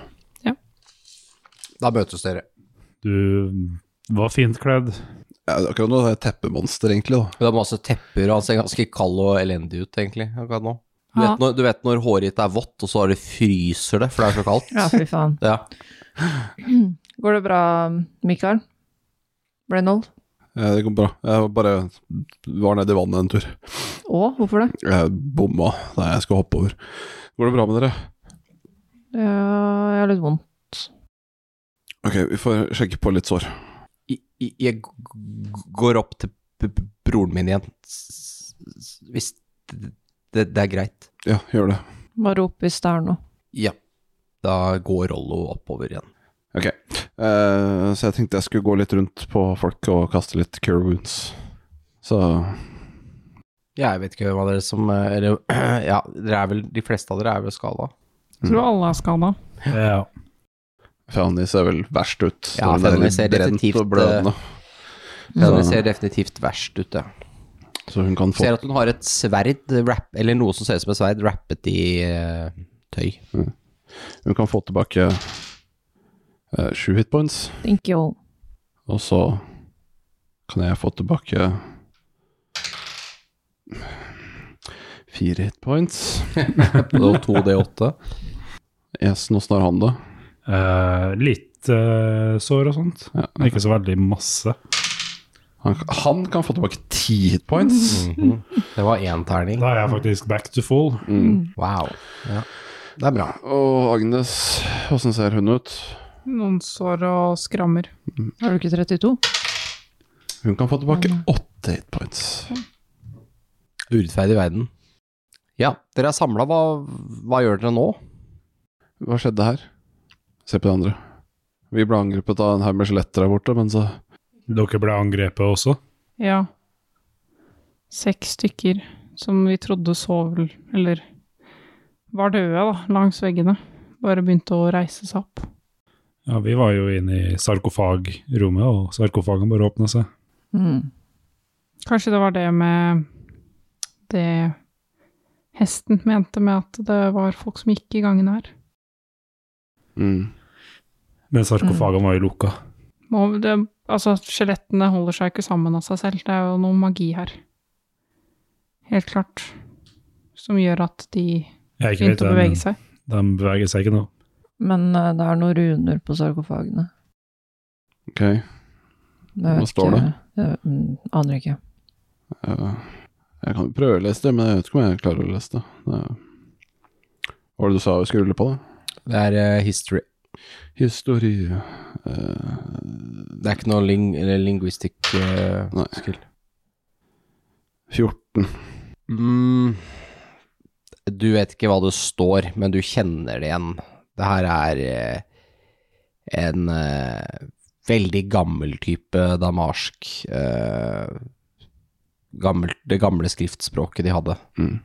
Speaker 4: Da møtes dere.
Speaker 7: Du var fint kledd.
Speaker 2: Ja, akkurat nå er jeg et teppemonster, egentlig. da.
Speaker 4: Det er masse tepper, og han ser ganske kald og elendig ut, egentlig, akkurat nå. Du
Speaker 3: Ja.
Speaker 4: vet når, du vet når håret ditt er vått, og så har det fryser det, for det er så kaldt.
Speaker 6: Ja, fy faen.
Speaker 4: Ja.
Speaker 6: Går det bra, Mikael? Reynold?
Speaker 2: Ja, det går bra. Jeg bare var nede i vannet en tur.
Speaker 6: Å, hvorfor det?
Speaker 2: Jeg bomma da jeg skulle hoppe over. Går det bra med dere?
Speaker 6: Ja, jeg har litt vondt.
Speaker 2: Ok, vi får sjekke på litt sår.
Speaker 4: Jeg, jeg- jeg g- g- går opp til b- b- broren min igjen, s- s- hvis det, det, det er greit.
Speaker 2: Ja, gjør det.
Speaker 6: Bare rop hvis det er noe.
Speaker 4: Ja. Da går Rollo oppover igjen.
Speaker 2: Ok. Eh, så jeg tenkte jeg skulle gå litt rundt på folk og kaste litt cure wounds. Så
Speaker 4: Jeg vet ikke hva dere som eh, eller, Ja, dere er vel, de fleste av dere er vel skada.
Speaker 2: Mm.
Speaker 5: Tror alle er skada.
Speaker 7: Ja.
Speaker 2: Fanny ser vel verst ut.
Speaker 4: Ja,
Speaker 2: når hun er
Speaker 4: Fanny ser
Speaker 2: brent
Speaker 4: definitivt,
Speaker 2: og blødende.
Speaker 4: Så
Speaker 2: Så-
Speaker 4: det ser definitivt verst ut, ja.
Speaker 2: Så hun kan få
Speaker 4: eh, Ser at hun har et sverd, wrap, eller noe som ser ut som et sverd, rappet i eh, tøy.
Speaker 2: Hun kan få tilbake eh, sju hitpoints,
Speaker 6: Thank you.
Speaker 2: og så kan jeg få tilbake fire hitpoints.
Speaker 4: Og 2D8.
Speaker 2: Yes, åssen har han det?
Speaker 7: Eh, litt eh, sår og sånt.
Speaker 2: Ja.
Speaker 7: Men Ikke så veldig masse.
Speaker 2: Han, han kan få tilbake ti hitpoints.
Speaker 4: Mm. Det var én terning.
Speaker 7: Da er jeg faktisk back to full.
Speaker 4: Wow. Ja. Mm. Det er bra.
Speaker 2: Mm. Og Agnes, åssen ser hun ut?
Speaker 3: Noen sår og skrammer.
Speaker 2: Mm.
Speaker 6: Har du ikke 32?
Speaker 2: Hun kan få tilbake åtte hitpoints.
Speaker 4: Urettferdig verden. Ja, dere er samla. Hva, hva gjør dere nå?
Speaker 2: Hva skjedde her? Se på de andre. Vi ble angrepet av en haug med skjeletter der borte, men så
Speaker 7: Dere ble angrepet også.
Speaker 3: Ja. Seks stykker som vi trodde sov, eller var døde, da, langs veggene. Bare begynte å reise seg opp.
Speaker 7: Ja, Vi var jo inne i sarkofagrommet, og sarkofagen bare åpna seg.
Speaker 6: Mm.
Speaker 3: Kanskje det var det med det hesten mente med at det var folk som gikk i gangen her.
Speaker 2: mm.
Speaker 7: Men
Speaker 3: Mm.
Speaker 7: sarkofagen var jo lukka.
Speaker 3: Må, det, altså, skjelettene holder seg ikke sammen av seg selv. Det er jo noe magi her. Helt klart. Som gjør at de
Speaker 7: Jeg ikke
Speaker 3: begynte å
Speaker 7: vet det, men
Speaker 3: bevege seg.
Speaker 7: de beveger seg ikke nå.
Speaker 6: Men eh, det er noen runer på sarkofagene.
Speaker 2: Ok.
Speaker 6: Jeg
Speaker 2: Hva
Speaker 6: vet
Speaker 2: står
Speaker 6: ikke- Jeg mm, aner ikke.
Speaker 2: Eh, Jeg kan jo prøve å lese det, men jeg vet ikke om jeg klarer å lese det. det er- Hva var det du sa vi skulle rulle på, da?
Speaker 4: Det er eh, history.
Speaker 2: Historie eh,
Speaker 4: Det er ikke noe ling eller linguistic eh,
Speaker 2: Nei.
Speaker 4: skill.
Speaker 2: 14.
Speaker 4: Mm, du vet ikke hva det står, men du kjenner det igjen. Det her er eh, en eh, veldig gammel type damarsk eh, gammel, Det gamle skriftspråket de hadde.
Speaker 2: Mm.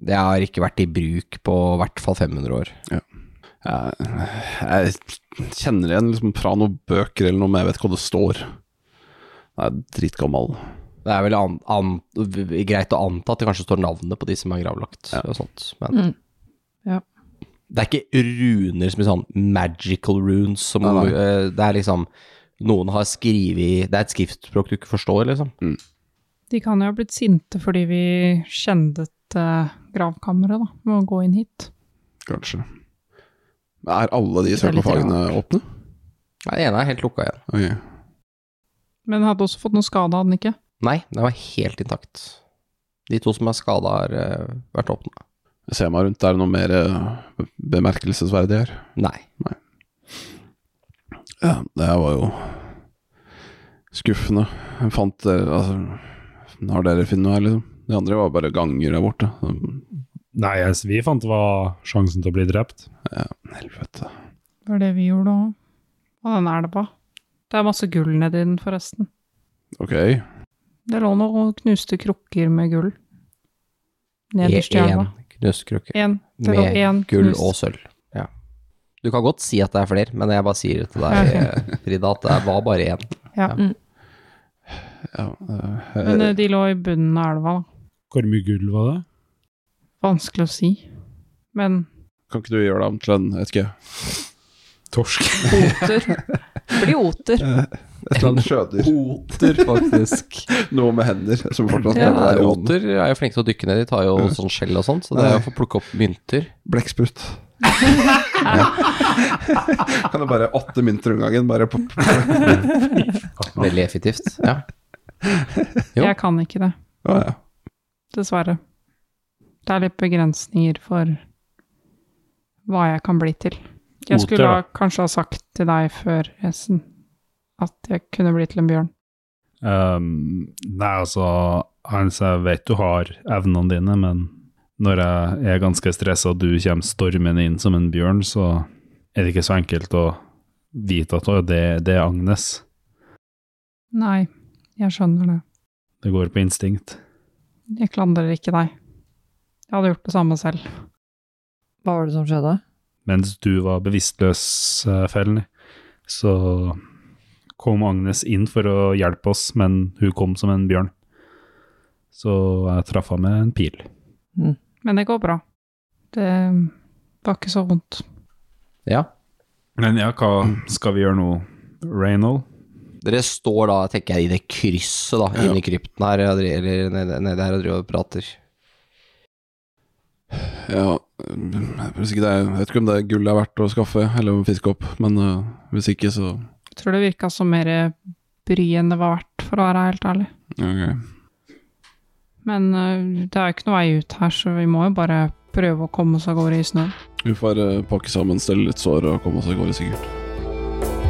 Speaker 4: Det har ikke vært i bruk på i hvert fall 500 år.
Speaker 2: Jeg, jeg kjenner det igjen liksom fra noen bøker eller noe, men jeg vet ikke hva det står. Den er dritgammel.
Speaker 4: Det er vel an, an, greit å anta at det kanskje står navnet på de som er gravlagt og sånt, men
Speaker 6: Mm. Ja.
Speaker 4: Det er ikke runer som er sånn magical runes som
Speaker 2: Nei, nei.
Speaker 4: eh, Det er liksom Noen har skrevet Det er et skriftspråk du ikke forstår, liksom.
Speaker 3: De kan jo ha blitt sinte fordi vi skjendet eh, gravkammeret da, med å gå inn hit.
Speaker 2: Kanskje. Men Er alle de
Speaker 6: Det er litt
Speaker 2: sarkofagene åpne?
Speaker 4: Nei, Den ene er helt lukka igjen.
Speaker 2: Ok.
Speaker 3: Men hadde også fått noe skade, hadde den ikke?
Speaker 4: Nei, den var helt intakt. De to som er skada, har eh, vært åpna.
Speaker 2: Jeg ser meg rundt, er det noe mer eh, bemerkelsesverdig her?
Speaker 4: Nei.
Speaker 2: Ja, det her var jo skuffende. Jeg fant eh, Altså, har dere funnet noe her, liksom? De andre var bare ganger der borte. Så,
Speaker 7: Nei, jeg- vi fant hva sjansen til å bli drept.
Speaker 2: Helvete.
Speaker 3: Det var det vi gjorde òg. Og den elva. Det er masse gull nedi den, forresten.
Speaker 2: Ok.
Speaker 3: Det lå noen knuste krukker med gull nederst i elva.
Speaker 4: Én knøskrukke
Speaker 3: Én. Det lå én
Speaker 4: E- med gull
Speaker 3: knust.
Speaker 4: og sølv. Ja. Du kan godt si at det er flere, men jeg bare sier det til deg, eh, Frida, at det var bare én.
Speaker 2: Ja, eh,
Speaker 3: Men eh, de lå i bunnen av elva, da.
Speaker 7: Hvor mye gull var det?
Speaker 3: Vanskelig å si. Men
Speaker 2: kan ikke du gjøre deg om til en vet ikke,
Speaker 7: Torsk.
Speaker 6: Oter. Blir oter.
Speaker 2: et eller annet sjødyr?
Speaker 4: Oter, faktisk.
Speaker 2: Noe med hender som fortsatt
Speaker 4: Ja,
Speaker 2: skal være i hånden.
Speaker 4: Oter er jo flinke til å dykke ned, de tar jo sånn skjell og sånt, så det er jo for å plukke opp mynter.
Speaker 2: Blekksprut. kan du bare åtte mynter om gangen? Bare på
Speaker 4: Veldig effektivt. Ja. Jo.
Speaker 3: jeg kan ikke det,
Speaker 2: Å ja.
Speaker 3: dessverre. Det er litt begrensninger for hva jeg kan bli til. Jeg
Speaker 7: Oter,
Speaker 3: skulle ha, kanskje ha sagt til deg før, Esen, at jeg kunne bli til en bjørn.
Speaker 7: Um, nei, altså, Hans, jeg vet du har evnene dine, men når jeg er ganske stressa og du kommer stormende inn som en bjørn, så er det ikke så enkelt å
Speaker 8: vite at «Å, det, det er Agnes.
Speaker 3: Nei, jeg skjønner det.
Speaker 8: Det går på instinkt.
Speaker 3: Jeg klandrer ikke deg. Jeg hadde gjort det samme selv.
Speaker 6: Hva var det som skjedde?
Speaker 8: Mens du var bevisstløs, eh, Felny, så kom Agnes inn for å hjelpe oss, men hun kom som en bjørn. Så jeg traff henne med en pil.
Speaker 3: Men det går bra. Det var ikke så vondt.
Speaker 4: Ja.
Speaker 8: Men ja, hva skal vi gjøre nå, Reynold?
Speaker 4: Dere står da, tenker jeg, i det krysset da, inne i krypten her, og dere- eller nede nede her og driver og prater.
Speaker 2: Ja, mm, hvis ikke det er, jeg vet ikke om det er gull det er verdt å skaffe, eller om fiske opp, men øh, hvis ikke, så
Speaker 3: Jeg tror det virka som mer bry enn det var verdt, for å være helt ærlig.
Speaker 2: ok.
Speaker 3: Men eh, det er jo ikke noe vei ut her, så vi må jo bare prøve å komme oss av gårde i snøen.
Speaker 2: Vi får øh, pakke sammen, stelle litt sår og komme oss av gårde, sikkert.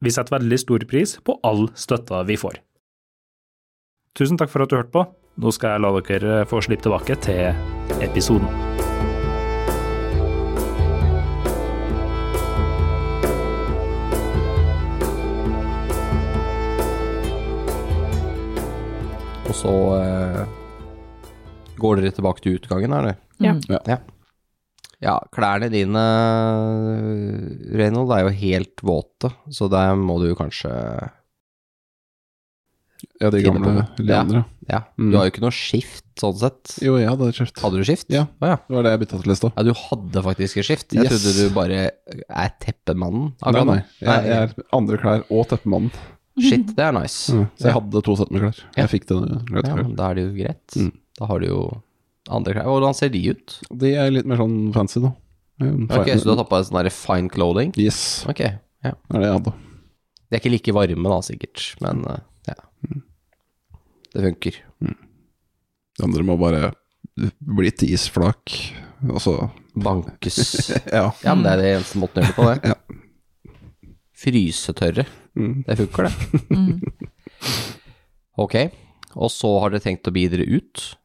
Speaker 7: vi setter veldig stor pris på all støtta vi får. Tusen takk for at du hørte på. Nå skal jeg la dere få slippe tilbake til episoden.
Speaker 4: Og så eh, går dere tilbake til utgangen, er det?
Speaker 3: Ja.
Speaker 6: Mm.
Speaker 4: Ja, klærne dine, Reynold, er jo helt våte, så der må du jo kanskje
Speaker 2: Ja, de
Speaker 4: Finne på
Speaker 2: gamle
Speaker 4: det.
Speaker 2: leandere.
Speaker 4: Ja,
Speaker 2: Mm.
Speaker 4: du har jo ikke noe skift, sånn sett.
Speaker 2: Jo, jeg hadde kjøpt.
Speaker 4: Hadde du skift?
Speaker 2: Ja.
Speaker 4: Å ja.
Speaker 2: Det var det jeg bytta til i stad.
Speaker 4: Ja, du hadde faktisk et skift. Jeg
Speaker 2: Yes.
Speaker 4: trodde du bare er teppemannen.
Speaker 2: Nei,
Speaker 4: Agatha.
Speaker 2: nei. Jeg, jeg er andre klær og teppemannen.
Speaker 4: Shit, det er nice.
Speaker 2: Mm. Så jeg hadde to sett med klær.
Speaker 4: Ja.
Speaker 2: Jeg fikk det. rett
Speaker 4: Ja,
Speaker 2: og slett.
Speaker 4: men da er det jo greit.
Speaker 2: Mm.
Speaker 4: Da har du jo andre klær. Hvordan ser de ut?
Speaker 2: De er litt mer sånn fancy, da. Um,
Speaker 4: Ok,
Speaker 2: fine-
Speaker 4: Så du har tatt på deg sånn der fine clothing?
Speaker 2: Yes,
Speaker 4: Ok, ja.
Speaker 2: det er det jeg hadde.
Speaker 4: De er ikke like varme da, sikkert, men eh, ja.
Speaker 2: Mm.
Speaker 4: Det funker.
Speaker 2: De andre må bare bli et isflak. Altså,
Speaker 4: Bankes.
Speaker 2: ja.
Speaker 4: Ja, men det er det eneste måten å gjøre det på, det.
Speaker 2: Ja.
Speaker 4: Frysetørre.
Speaker 2: Mm.
Speaker 4: Det funker, det. Ok, og så har dere tenkt å bi dere ut.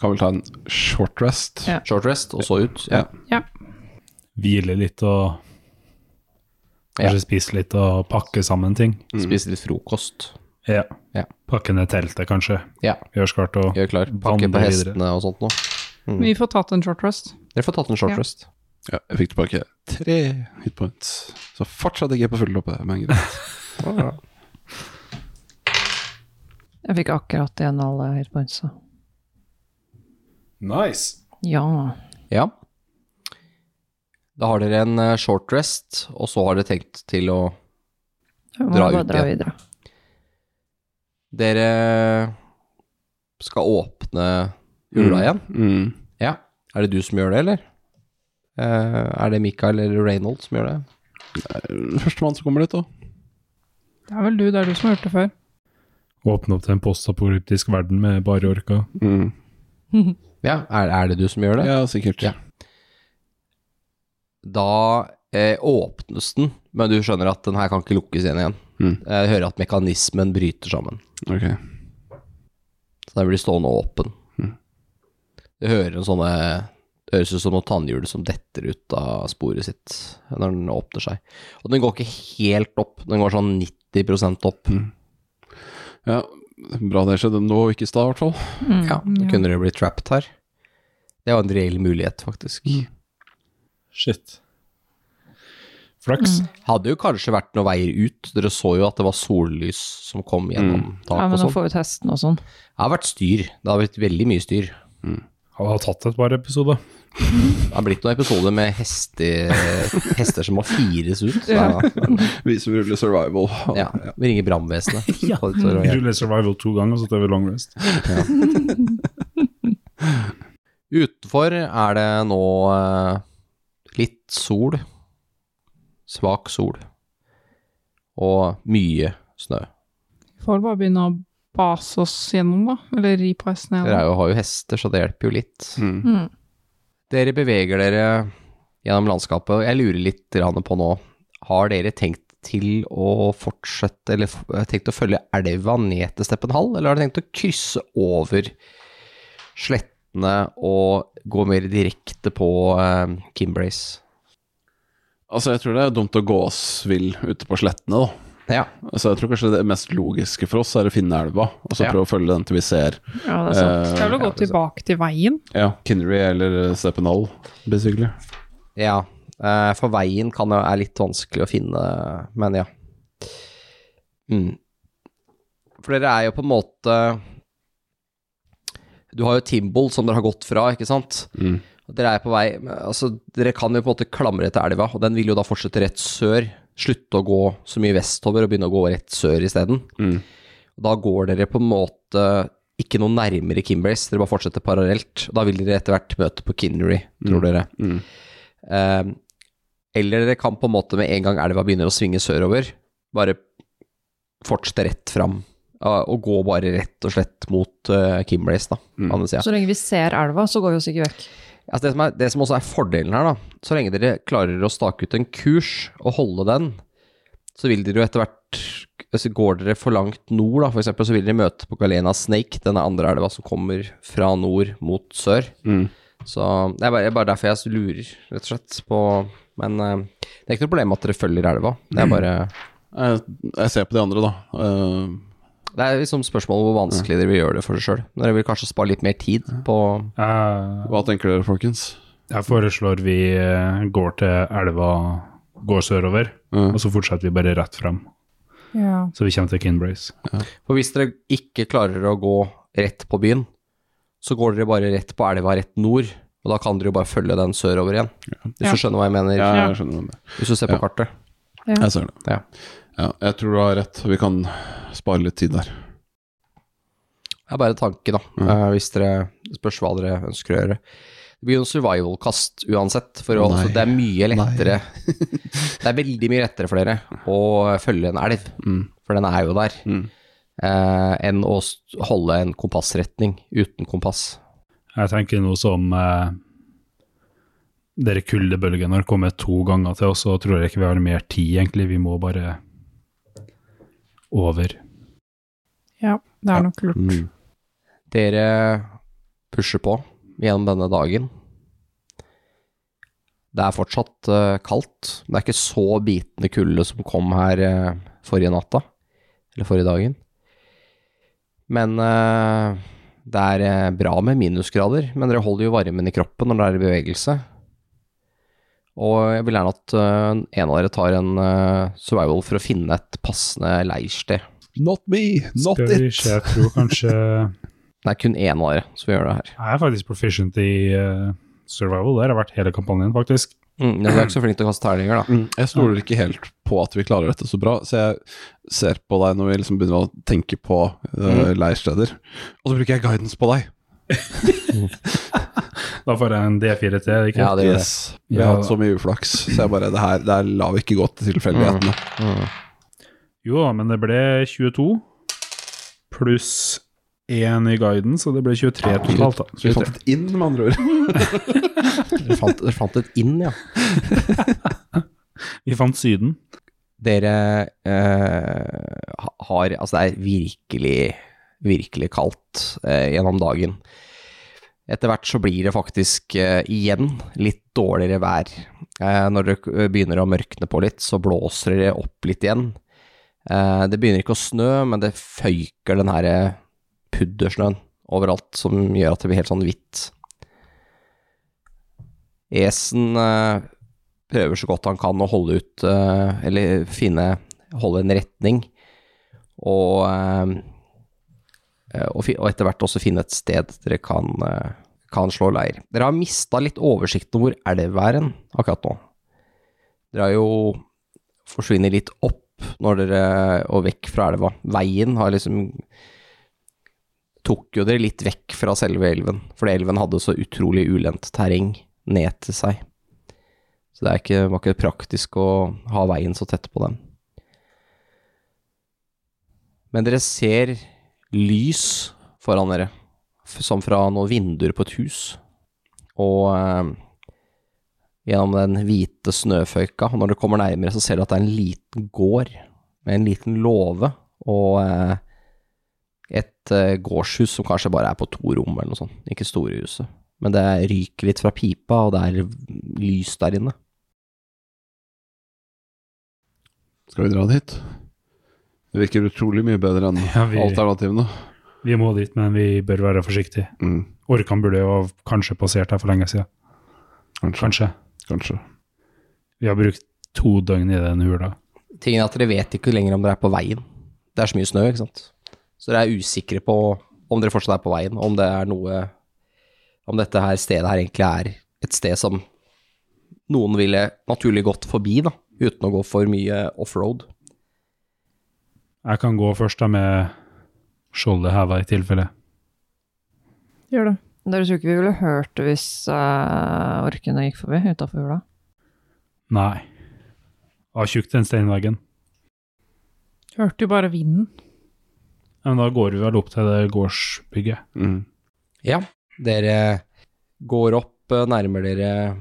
Speaker 2: Kan vel ta en short rest.
Speaker 6: Ja.
Speaker 4: Short rest, og så ut.
Speaker 2: Ja.
Speaker 8: Hvile litt og
Speaker 4: Ja.
Speaker 8: kanskje spise litt og pakke sammen ting.
Speaker 2: Mm.
Speaker 4: Spise litt frokost.
Speaker 8: Ja.
Speaker 4: Ja.
Speaker 8: Pakke ned teltet, kanskje.
Speaker 4: Ja.
Speaker 8: Gjør skarpt og
Speaker 4: Gjør klar. Pakke på
Speaker 8: Vandre videre.
Speaker 4: hestene og sånt noe.
Speaker 3: Vi får tatt en short rest.
Speaker 4: Dere får tatt en short
Speaker 3: Ja.
Speaker 4: rest.
Speaker 2: Ja, jeg fikk tilbake tre hit points. Så fortsatt ikke på fulltoppet, men greit.
Speaker 6: Jeg fikk akkurat igjen alle hit points. så.
Speaker 8: Nice!
Speaker 6: Ja.
Speaker 4: Ja. Da har dere en eh, short rest, og så har dere tenkt til å
Speaker 6: Vi må
Speaker 4: Dra
Speaker 6: bare
Speaker 4: ut
Speaker 6: dra
Speaker 4: igjen.
Speaker 6: videre.
Speaker 4: Dere skal åpne jula igjen.
Speaker 2: Mm.
Speaker 4: Ja. Er det du som gjør det, eller? Eh, er det Mikael eller Reynold som gjør det?
Speaker 2: Førstemann som kommer dit, da.
Speaker 3: Det er vel du, det er du som har gjort det før.
Speaker 8: Åpne opp til en postapokalyptisk verden med bare orka.
Speaker 2: Mm.
Speaker 4: Ja, er, er det du som gjør det?
Speaker 2: Ja, sikkert.
Speaker 4: Ja. Da eh, åpnes den, men du skjønner at den her kan ikke lukkes igjen igjen.
Speaker 2: Mm.
Speaker 4: Jeg hører at mekanismen bryter sammen,
Speaker 2: Ok.
Speaker 4: så den blir stående åpen.
Speaker 2: Mm.
Speaker 4: Du hører en sånne det høres ut som noe tannhjul som detter ut av sporet sitt når den åpner seg. Og den går ikke helt opp, den går sånn 90 opp.
Speaker 2: Ja, Bra det skjedde nå, ikke i stad i hvert fall.
Speaker 6: Mm,
Speaker 4: Ja, da
Speaker 3: ja.
Speaker 4: kunne dere blitt trapped her. Det var en reell mulighet, faktisk.
Speaker 9: Shit. Flaks.
Speaker 4: Hadde jo kanskje vært noen veier ut. Dere så jo at det var sollys som kom gjennom
Speaker 6: Ja,
Speaker 4: taket
Speaker 6: men
Speaker 4: og
Speaker 6: nå
Speaker 4: sånn.
Speaker 6: får vi testen og sånn.
Speaker 4: Det har vært styr. Det har vært veldig mye styr.
Speaker 7: Han har tatt et par episoder.
Speaker 4: Det har blitt noen episoder med heste, hester som må fires ut. Så, ja.
Speaker 2: Vi som ruller survival.
Speaker 4: Ja, vi ringer brannvesenet. sånn Så- så-
Speaker 7: Vi
Speaker 4: så-
Speaker 7: ruller survival to ganger, og så tar vi long rest.
Speaker 4: Utenfor er det nå eh, litt sol. Svak sol. Og mye snø.
Speaker 3: Vi får vel bare begynne å base oss gjennom, da. Eller ri på hestene
Speaker 4: Dere er
Speaker 3: igjen.
Speaker 4: jo, har jo hester, så det hjelper jo litt.
Speaker 2: Mm.
Speaker 4: Dere beveger dere gjennom landskapet, og jeg lurer litt grann på nå. Har dere tenkt til å fortsette, eller f- eh, tenkt å følge elva ned til Steppenhall, eller har dere tenkt å krysse over slettene og gå mer direkte på eh, Kimbrace?
Speaker 2: Altså, jeg tror det er dumt å gå oss vill ute på slettene, da.
Speaker 4: Ja,
Speaker 2: Så jeg tror kanskje det mest logiske for oss er å finne elva, og så
Speaker 4: Ja.
Speaker 2: prøve å følge den til vi ser eh,
Speaker 6: Ja, det er
Speaker 4: Eh,
Speaker 6: sant.
Speaker 3: Skal vel gå tilbake til veien?
Speaker 2: ja, Kinnery eller Steppenhall, basically.
Speaker 4: ja. eh, for veien kan jo er litt vanskelig å finne, men ja. Mm. For dere er jo på en måte Du har jo Timbol som dere har gått fra, ikke sant?
Speaker 2: Mm.
Speaker 4: Og Dere er på vei Altså, dere kan jo på en måte klamre til elva, og den vil jo da fortsette rett sør. Slutte å gå så mye vestover og begynne å gå rett sør isteden.
Speaker 2: Mm.
Speaker 4: Og Da går dere på en måte ikke noe nærmere Kimbrace, dere bare fortsetter parallelt. Og Da vil dere etter hvert møte på Kinnery, tror dere.
Speaker 2: Mm.
Speaker 4: Eh, eller dere kan på en måte med en gang elva begynner å svinge sørover, bare fortsette rett fram. ja, Og gå bare rett og slett mot uh, Kimbrace, da.
Speaker 2: Mm.
Speaker 4: Andre sida.
Speaker 6: Så lenge vi ser elva, så går vi oss ikke vekk.
Speaker 4: Altså det, som er, det som også er fordelen her, da, så lenge dere klarer å stake ut en kurs og holde den, så vil dere jo etter hvert altså Går dere for langt nord, da, for eksempel, så vil dere møte på Galena Snake, denne andre elva som kommer fra nord mot sør.
Speaker 2: Mm.
Speaker 4: Så Det er bare, det er bare derfor jeg lurer, rett og slett, på Men eh, det er ikke noe problem at dere følger elva. Det er bare
Speaker 2: Jeg, jeg ser på de andre, da. Eh,
Speaker 4: Det er liksom spørsmålet hvor vanskelig dere vil gjøre det for dere sjøl. Dere vil kanskje spare litt mer tid på
Speaker 7: Jeg,
Speaker 2: hva tenker dere, folkens?
Speaker 7: jeg foreslår vi eh, går til elva, går sørover,
Speaker 2: Mm.
Speaker 7: og så fortsetter vi bare rett fram.
Speaker 3: Ja.
Speaker 7: Så vi kommer til Kinbrace.
Speaker 4: For hvis dere ikke klarer å gå rett på byen, så går dere bare rett på elva rett nord, og da kan dere jo bare følge den sørover igjen. Hvis
Speaker 3: Ja.
Speaker 4: du skjønner hva jeg mener,
Speaker 2: Ja, jeg skjønner hva du mener.
Speaker 4: hvis du ser på
Speaker 2: Ja.
Speaker 4: kartet.
Speaker 2: Jeg ser det.
Speaker 4: Ja.
Speaker 2: Ja, jeg tror du har rett. Vi kan spare litt tid der.
Speaker 4: Det er bare en tanke, da,
Speaker 2: Mm.
Speaker 4: eh, hvis dere spørs hva dere ønsker å gjøre. Det blir jo en survival-kast uansett, for å-
Speaker 2: Nei.
Speaker 4: altså, det er mye lettere Det er veldig mye lettere for dere å følge en elv,
Speaker 2: Mm.
Speaker 4: for den er jo der,
Speaker 2: Mm.
Speaker 4: eh, enn å st- holde en kompassretning uten kompass.
Speaker 7: Jeg tenker noe som eh, Dere kuldebølgene har kommet to ganger til oss, og tror jeg ikke vi har mer tid, egentlig. Vi må bare over.
Speaker 3: Det er nok lurt.
Speaker 2: Mm.
Speaker 4: Dere pusher på gjennom denne dagen. Det er fortsatt eh, kaldt. Det er ikke så bitende kulde som kom her eh, forrige natta, eller forrige dagen. Men eh, det er eh, bra med minusgrader, men dere holder jo varmen i kroppen når dere er i bevegelse. Og jeg vil gjerne at eh, en av dere tar en eh, survival for å finne et passende leirsted.
Speaker 2: Not me, not
Speaker 7: Skal vi
Speaker 2: it!
Speaker 7: se, jeg tror kanskje Jeg
Speaker 4: Det er kun én av dere som gjør det her.
Speaker 7: er faktisk proficient i eh, survival. Der har jeg vært hele kampanjen, faktisk.
Speaker 4: Mm, dere er ikke så flink til å kaste terninger, da.
Speaker 2: Mm. Jeg stoler ikke helt på at vi klarer dette så bra, så jeg ser på deg når vi liksom begynner å tenke på
Speaker 4: Mm.
Speaker 2: eh, leirsteder. Og så bruker jeg guidance på deg.
Speaker 7: Da får jeg en D4 til, ikke
Speaker 4: Ja, det gjør det.
Speaker 2: Vi
Speaker 7: Ja.
Speaker 2: har hatt så mye uflaks, så jeg bare Det her det her lar vi ikke gå til tilfeldighetene.
Speaker 7: Mm. Jo da, men det ble 22 pluss 1 i guiden, så det ble 23 totalt, da.
Speaker 2: Så vi fant et inn, med andre ord.
Speaker 4: Dere fant, dere fant et inn, ja.
Speaker 7: Vi fant Syden.
Speaker 4: Dere eh, ha- har Altså, det er virkelig, virkelig kaldt eh, gjennom dagen. Etter hvert så blir det faktisk eh, igjen litt dårligere vær. Eh, når det k- begynner å mørkne på litt, så blåser det opp litt igjen. Eh, det begynner ikke å snø, men det føyker den her eh, puddersnøen overalt, som gjør at det blir helt sånn hvitt. Esen eh, prøver så godt han kan å holde ut, eh, eller finne, holde en retning, og, eh, og, fi- og etter hvert også finne et sted dere kan, eh, kan slå leir. Dere har mista litt oversikten over hvor elva er hen akkurat nå. Dere har jo forsvinner litt opp når dere, og vekk fra elva. Veien har liksom tok jo dere litt vekk fra selve elven, fordi elven hadde så utrolig ulendt terreng ned til seg. Så det er ikke, var ikke praktisk å ha veien så tett på den. Men dere ser lys foran dere, f- som fra noen vinduer på et hus. Og eh, gjennom den hvite snøføyka, og når du kommer nærmere, så ser du at det er en liten gård med en liten låve og eh, et eh, gårdshus som kanskje bare er på to rom eller noe sånt, ikke store huset. Men det ryker litt fra pipa, og det er lys der inne.
Speaker 2: Skal vi dra dit? Det virker utrolig mye bedre enn
Speaker 7: Ja, vi-
Speaker 2: alternativene.
Speaker 7: Vi må dit, men vi bør være forsiktige.
Speaker 2: Mm,
Speaker 7: Orkan burde jo ha kanskje passert her for lenge siden.
Speaker 2: kanskje, kanskje.
Speaker 7: Kanskje. Vi har brukt to døgn i den hula.
Speaker 4: Tingen er at dere vet ikke lenger om dere er på veien. Det er så mye snø, ikke sant. Så dere er usikre på om dere fortsatt er på veien, om det er noe Om dette her stedet her egentlig er et sted som noen ville naturlig gått forbi, da, uten å gå for mye offroad.
Speaker 7: Jeg kan gå først da med skjoldet heva i tilfelle.
Speaker 3: Gjør det.
Speaker 6: Dere tror ikke vi ville hørt det hvis eh, orkene gikk forbi utafor hula?
Speaker 7: Nei. Jeg har tjukt den steinveggen.
Speaker 3: Hørte jo bare vinden.
Speaker 7: Ja, Men da går vi vel opp til det gårdsbygget.
Speaker 2: Mm.
Speaker 4: Ja, dere går opp, eh, nærmer dere,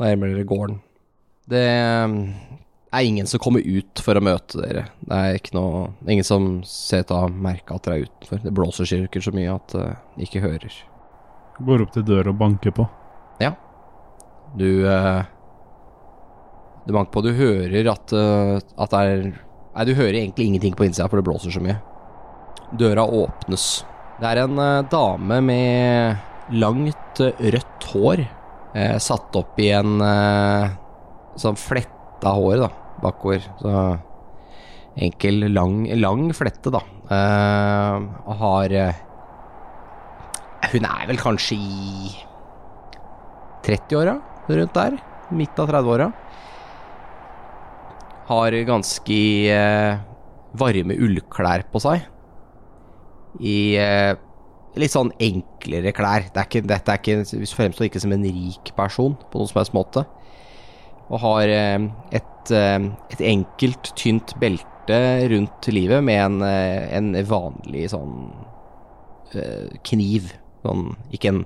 Speaker 4: nærmer dere gården. Det eh, er ingen som kommer ut for å møte dere. Det er ikke noe, ingen som ser ut til å ha merka at dere er utenfor. Det blåser sikkert så mye at eh, de ikke hører.
Speaker 7: Går opp til døra og banker på.
Speaker 4: Du eh, Du banker på, du hører at, eh, at det er Nei, du hører egentlig ingenting på innsida, for det blåser så mye. Døra åpnes. Det er en eh, dame med langt eh, rødt hår. eh, satt opp i en eh, sånn fletta hår, da, bakover. Så enkel, lang, lang flette, da. Eh, og har eh, Hun er vel kanskje i 30-åra, rundt der. Midt av 30-åra. Har ganske eh, varme ullklær på seg. I eh, litt sånn enklere klær. Det er ikke, dette er ikke, vi fremstår ikke som en rik person på noen som helst måte. Og har eh, et, eh, et enkelt, tynt belte rundt livet med en, eh, en vanlig sånn eh, kniv. Sånn, ikke en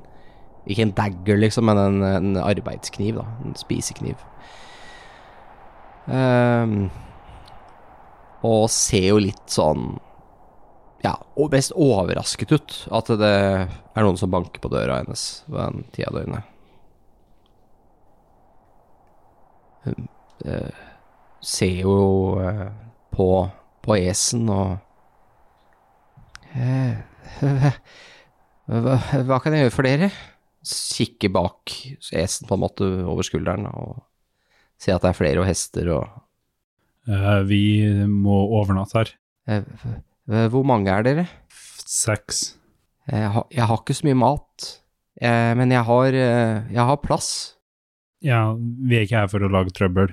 Speaker 4: ikke en dagger, liksom, men en, en arbeidskniv, da. En spisekniv. Ehm, og ser jo litt sånn Ja, og mest overrasket ut. At det er noen som banker på døra hennes på den tida av døgnet. Hun eh, ser jo eh, på, på esen og eh, hva, hva kan jeg gjøre for dere? kikker bak esen på en måte over skulderen og ser at det er flere og hester og
Speaker 7: Eh, Vi må overnatte her.
Speaker 4: Eh, eh, Hvor mange er dere?
Speaker 7: F- Seks.
Speaker 4: Eh, Jeg har, jeg har ikke så mye mat, eh, men jeg har, eh, jeg har plass.
Speaker 7: Ja, vi er ikke her for å lage trøbbel.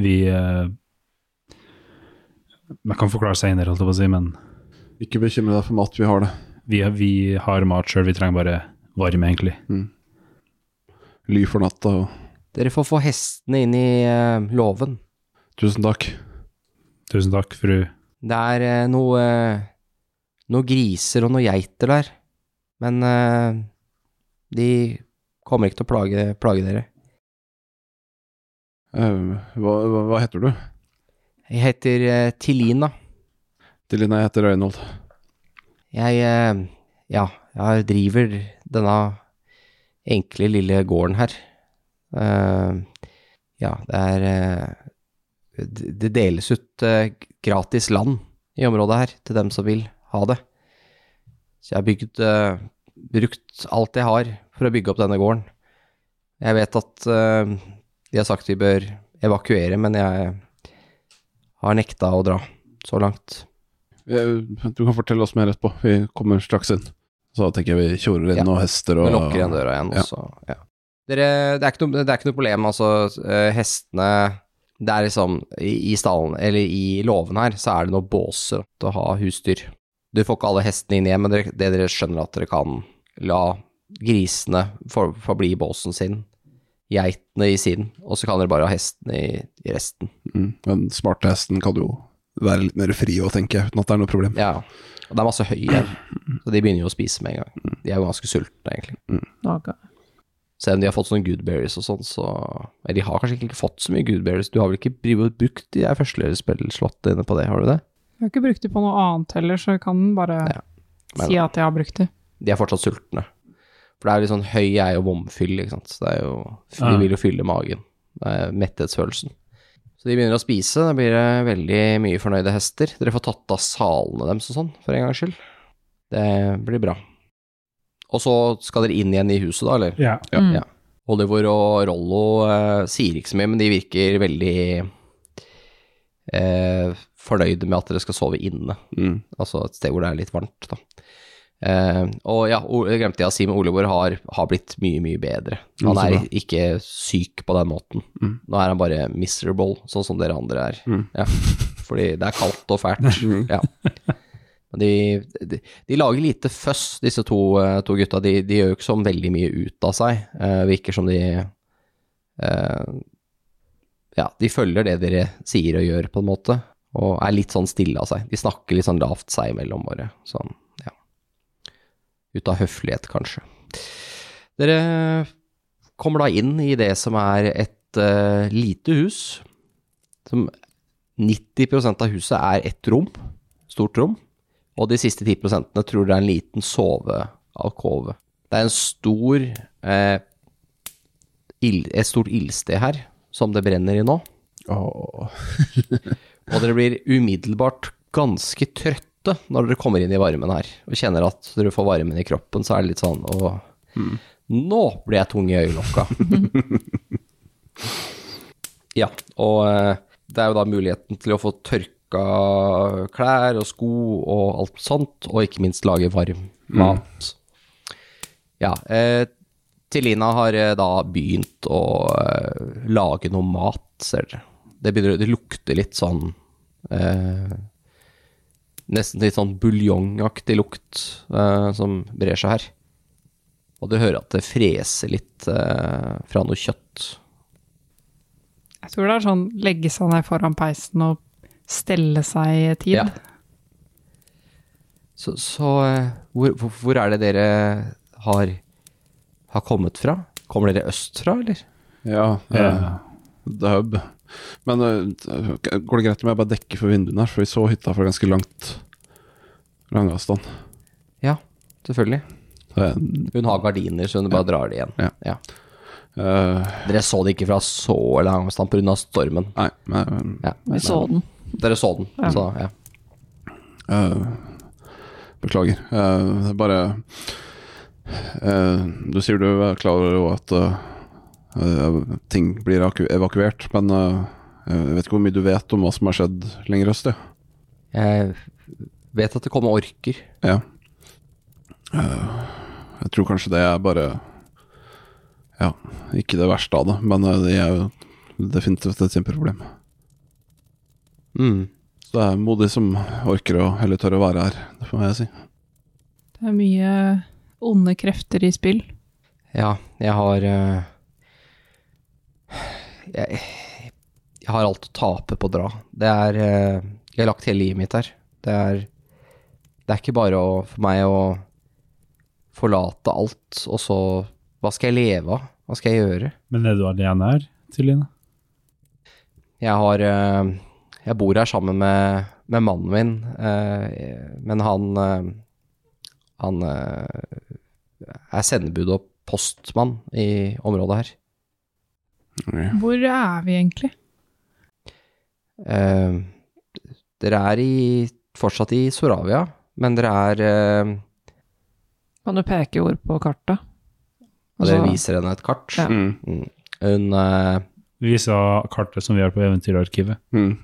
Speaker 7: Vi eh, Man kan forklare seinere, holdt jeg på å si, men
Speaker 2: Ikke bekymre deg for mat, vi har det.
Speaker 7: vi, vi har mat sjøl. Vi trenger bare varme, egentlig.
Speaker 2: Ly for natta og
Speaker 4: Dere får få hestene inn i eh, låven.
Speaker 2: Tusen takk.
Speaker 7: Tusen takk, fru.
Speaker 4: Det er eh, noe eh, noe griser og noen geiter der, men eh, de kommer ikke til å plage, plage dere.
Speaker 2: Eh, hva, hva, hva heter du?
Speaker 4: Jeg heter eh, Tilina.
Speaker 2: Tilina, jeg heter Øynold.
Speaker 4: Jeg, eh, ja, jeg driver denne enkle lille gården her. Eh, ja, det er eh, det det deles ut eh, gratis land i området her til dem som vil ha det. Så jeg har bygd, eh, brukt alt jeg har for å bygge opp denne gården. Jeg vet at eh, de har sagt vi bør evakuere, men jeg har nekta å dra så langt.
Speaker 2: Eh, Du kan fortelle oss mer etterpå. Vi kommer straks inn. Så tenker jeg vi tjorer inn
Speaker 4: Ja.
Speaker 2: noen hester og
Speaker 4: Vi lukker igjen døra igjen,
Speaker 2: Ja.
Speaker 4: og så ja. Dere, det, er ikke noe, det er ikke noe problem, altså. eh, Hestene Det er liksom I, i stallen, eller i låven her, så er det noen båser til å ha husdyr. Du får ikke alle hestene inn igjen, men dere, det dere skjønner at dere kan la grisene for- forbli i båsen sin, geitene i sin, og så kan dere bare ha hestene i, i resten.
Speaker 2: Mm. Den smarte hesten kan jo være litt mer fri å tenke, uten at det er noe problem.
Speaker 4: Ja. Og det er masse høy igjen, så de begynner jo å spise med en gang. De er jo ganske sultne, egentlig.
Speaker 6: Naga.
Speaker 4: Selv om de har fått sånne goodberries og sånn, så Eller de har kanskje ikke fått så mye goodberries. Du har vel ikke drivet- brukt de der førstespillslottene dine på det, har du det?
Speaker 3: Jeg har ikke brukt det på noe annet heller, så jeg kan bare
Speaker 4: Ja. Men-
Speaker 3: si at jeg har brukt det.
Speaker 4: De er fortsatt sultne. For det er litt sånn høy er jo vomfyll, ikke sant. Så Det er jo, de
Speaker 7: Ja.
Speaker 4: vil jo fylle magen. Det er metthetsfølelsen. Så de begynner å spise. Da blir det veldig mye fornøyde hester. Dere får tatt av salene deres og sånn, for en gangs skyld. Det blir bra. Og så skal dere inn igjen i huset, da, eller?
Speaker 7: Ja.
Speaker 2: Ja,
Speaker 6: Mm.
Speaker 4: ja. Oliver og Rollo eh, sier ikke så mye, men de virker veldig eh, fornøyde med at dere skal sove inne.
Speaker 2: Mm.
Speaker 4: Altså et sted hvor det er litt varmt, da. Eh, og ja, o- jeg glemte jeg å si, men Oliver har, har blitt mye, mye bedre.
Speaker 2: Ja,
Speaker 4: Han
Speaker 2: så
Speaker 4: er
Speaker 2: bra.
Speaker 4: ikke syk på den måten.
Speaker 2: Mm.
Speaker 4: Nå er han bare miserable, sånn som dere andre er.
Speaker 2: Mm.
Speaker 4: Ja. Fordi det er kaldt og fælt. Ja. Men De, de, de lager lite føss, disse to, eh, to gutta. De, de gjør jo ikke sånn veldig mye ut av seg. Eh, virker som de eh, Ja, de følger det dere sier og gjør, på en måte. Og er litt sånn stille av seg. De snakker litt sånn lavt seg imellom, bare. Sånn, ja. Ut av høflighet, kanskje. Dere kommer da inn i det som er et eh, lite hus. Som 90 av huset er ett rom, stort rom, og de siste 10 tror det er en liten sovealkove. Det er en stor eh, ild, et stort ildsted her, som det brenner i nå.
Speaker 2: Åh.
Speaker 4: Og dere blir umiddelbart ganske trøtte når dere kommer inn i varmen her, og kjenner at dere får varmen i kroppen, så er det litt sånn åh, nå ble jeg tung i øyelokka. ja, og eh, det er jo da muligheten til å få tørka klær og sko og alt sånt, og ikke minst lage varm mat. Ja, eh, Tilina har eh, da begynt å eh, lage noe mat, ser dere. Det, begynner, det lukter litt sånn eh, Nesten litt sånn buljongaktig lukt eh, som brer seg her. Og du hører at det freser litt eh, fra noe kjøtt.
Speaker 3: Jeg tror det er sånn legge seg ned foran peisen og stelle seg-tid.
Speaker 4: Ja. Så, så eh, hvor, hvor- hvor er det dere har, har kommet fra? Kommer dere østfra, eller?
Speaker 2: ja, eh,
Speaker 7: Ja.
Speaker 2: dub. Men eh, går det greit om jeg bare dekker for vinduene her, for vi så hytta fra ganske langt lang avstand.
Speaker 4: Ja, selvfølgelig.
Speaker 2: Så jeg,
Speaker 4: Hun har gardiner, så hun bare drar det igjen.
Speaker 2: Ja. eh,
Speaker 4: Dere så det ikke fra så lang avstand pga. stormen.
Speaker 2: nei, men
Speaker 4: Ja.
Speaker 6: Vi så den.
Speaker 4: Dere så den. Så, ja.
Speaker 2: Eh, beklager. Eh, det er bare eh, Du sier du er klar over jo at eh, eh, ting blir aku- evakuert, men eh, jeg vet ikke hvor mye du vet om hva som har skjedd lenger øst? Ja.
Speaker 4: Jeg vet at det kommer orker.
Speaker 2: ja. Eh, jeg tror kanskje det er bare Ja, ikke det verste av det, men eh, det er jo definitivt et kjempeproblem.
Speaker 4: Mm.
Speaker 2: Så det er modig som orker å heller tør å være her, det får jeg si.
Speaker 3: Det er mye onde krefter i spill.
Speaker 4: Ja, jeg har eh, jeg, jeg har alt å tape på å dra. Det er eh, Jeg har lagt hele livet mitt her. Det er Det er ikke bare å, for meg å forlate alt, og så Hva skal jeg leve av? Hva skal jeg gjøre?
Speaker 7: Men er du alene her, Tilline?
Speaker 4: Jeg har eh, Jeg bor her sammen med, med mannen min, eh, men han eh, Han eh, er sendebud og postmann i området her.
Speaker 2: Ok.
Speaker 3: Hvor er vi egentlig?
Speaker 4: Eh, dere er i, fortsatt i Soravia, men dere er eh,
Speaker 6: Kan du peke ord på kartet?
Speaker 4: Og det
Speaker 6: Altså-
Speaker 4: viser henne et kart.
Speaker 6: Ja.
Speaker 2: Mm.
Speaker 4: Hun, eh,
Speaker 7: Vi viser kartet som vi har på Eventyrarkivet.
Speaker 2: Mm.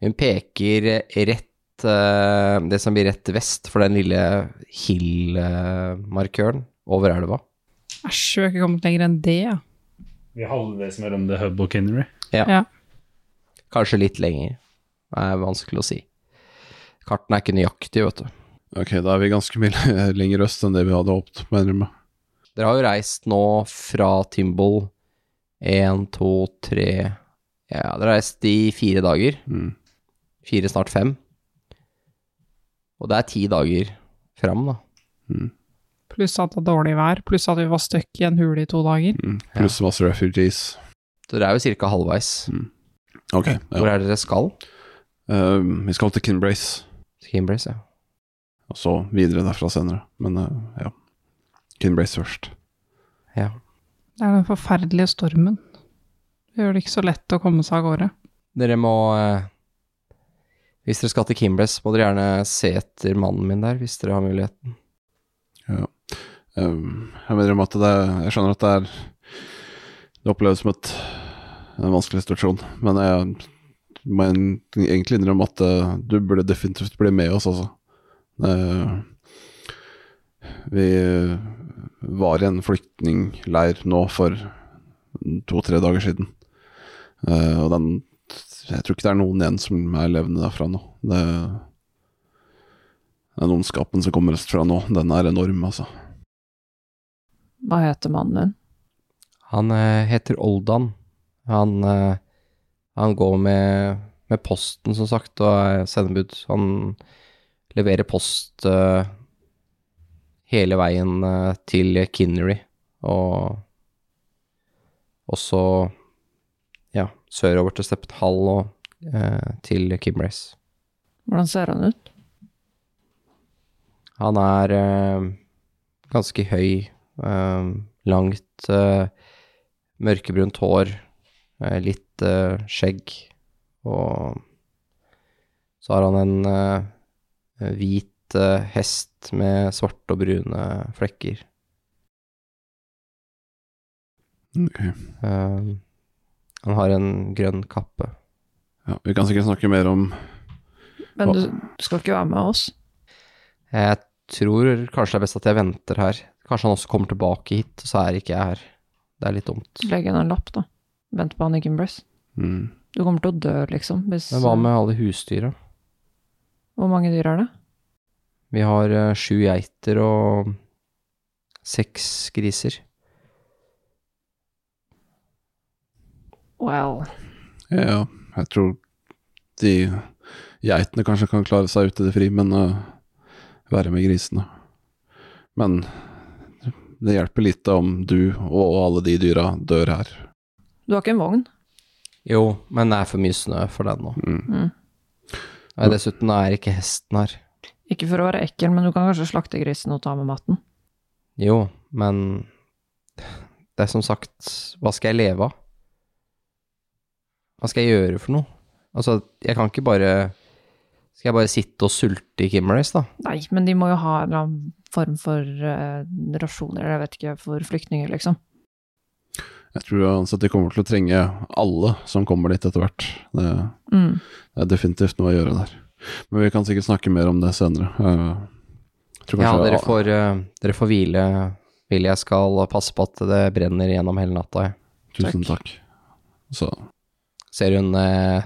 Speaker 4: hun peker rett eh, Det som blir rett vest for den lille hill-markøren over elva.
Speaker 3: Æsj, vi har ikke kommet lenger enn det. ja.
Speaker 7: Vi er halvveis mellom The Hub og Kinnery.
Speaker 4: Kanskje litt lenger. Det er vanskelig å si. Kartene er ikke nøyaktige, vet du.
Speaker 2: Ok, da er vi ganske mye lenger øst enn det vi hadde håpet, mener jeg.
Speaker 4: Dere har jo reist nå fra Timbol én, to, tre Ja, dere har reist i fire dager.
Speaker 2: Mm.
Speaker 4: Fire, snart fem. Og det er ti dager fram, da.
Speaker 3: Pluss at det er dårlig vær, pluss at vi var stuck i en hule i to dager.
Speaker 2: Mm. Pluss masse refugees. Mm.
Speaker 4: Så dere er jo ca. halvveis.
Speaker 2: Ok,
Speaker 4: Hvor
Speaker 2: ja.
Speaker 4: er det dere skal?
Speaker 2: Eh, vi skal til Kinbrace,
Speaker 4: Skimbrace, ja.
Speaker 2: og så videre derfra senere. Men eh, ja, Kinbrace først.
Speaker 4: ja.
Speaker 3: Det er den forferdelige stormen. Det gjør det ikke så lett å komme seg av gårde.
Speaker 4: Dere må eh, Hvis dere skal til Kimbrace, må dere gjerne se etter mannen min der, hvis dere har muligheten.
Speaker 2: Eh, jeg mener om at det er, jeg skjønner at det er Det oppleves som et, en vanskelig situasjon, men jeg må en- egentlig innrømme at eh, du burde definitivt bli med oss, altså. Eh, vi var i en flyktningleir nå for to-tre dager siden, Eh, og den Jeg tror ikke det er noen igjen som er levende derfra nå. Det, den ondskapen som kommer østfra nå, den er enorm, altså.
Speaker 6: Hva heter mannen din?
Speaker 4: Han eh, heter Oldan. Han, eh, han går med, med posten, som sagt, og er sendebud. Han leverer post eh, hele veien eh, til Kinnery, og også ja, sørover til Steppenhall og eh, til Kimbrace.
Speaker 6: Hvordan ser han ut?
Speaker 4: Han er eh, ganske høy, eh, langt, eh, mørkebrunt hår, eh, litt eh, skjegg, og så har han en eh, hvit eh, hest med svarte og brune flekker.
Speaker 2: Ok.
Speaker 4: Eh, han har en grønn kappe.
Speaker 2: Ja, vi kan sikkert snakke mer om
Speaker 6: Men du, du skal ikke være med oss?
Speaker 4: Jeg tror kanskje det er best at jeg venter her. Kanskje han også kommer tilbake hit, så er ikke jeg her. Det er litt dumt.
Speaker 6: Legg igjen en lapp, da. Vent på han i Gimbrace.
Speaker 2: mm,
Speaker 6: Du kommer til å dø, liksom. Hvis,
Speaker 4: Men hva med alle husdyra?
Speaker 6: Hvor mange dyr er det?
Speaker 4: Vi har eh, sju geiter og seks griser.
Speaker 6: Well,
Speaker 2: Ja, jeg tror de geitene kanskje kan klare seg ute i det fri, men øh, være med grisene. Men det hjelper lite om du og alle de dyra dør her.
Speaker 6: du har ikke en vogn?
Speaker 4: Jo, men det er for mye snø for den nå.
Speaker 2: Mm.
Speaker 6: Mm.
Speaker 4: Nei, Dessuten er ikke hesten her.
Speaker 6: Ikke for å være ekkel, men du kan kanskje slakte grisen og ta med maten?
Speaker 4: Jo, men det er som sagt Hva skal jeg leve av? Hva skal jeg gjøre for noe? Altså, jeg kan ikke bare Skal jeg bare sitte og sulte i Kimmerlace, da?
Speaker 6: Nei, men de må jo ha en eller annen form for eh, rasjoner, jeg vet ikke, for flyktninger, liksom.
Speaker 2: Jeg tror uansett de kommer til å trenge alle som kommer dit etter hvert. Det,
Speaker 6: Mm.
Speaker 2: det er definitivt noe å gjøre der. Men vi kan sikkert snakke mer om det senere. Øh, jeg tror
Speaker 4: Ja,
Speaker 2: kanskje-
Speaker 4: dere får, eh, dere får hvile. Hvile. Jeg skal passe på at det brenner gjennom hele natta, jeg.
Speaker 2: Tusen takk. Så
Speaker 4: ser hun eh,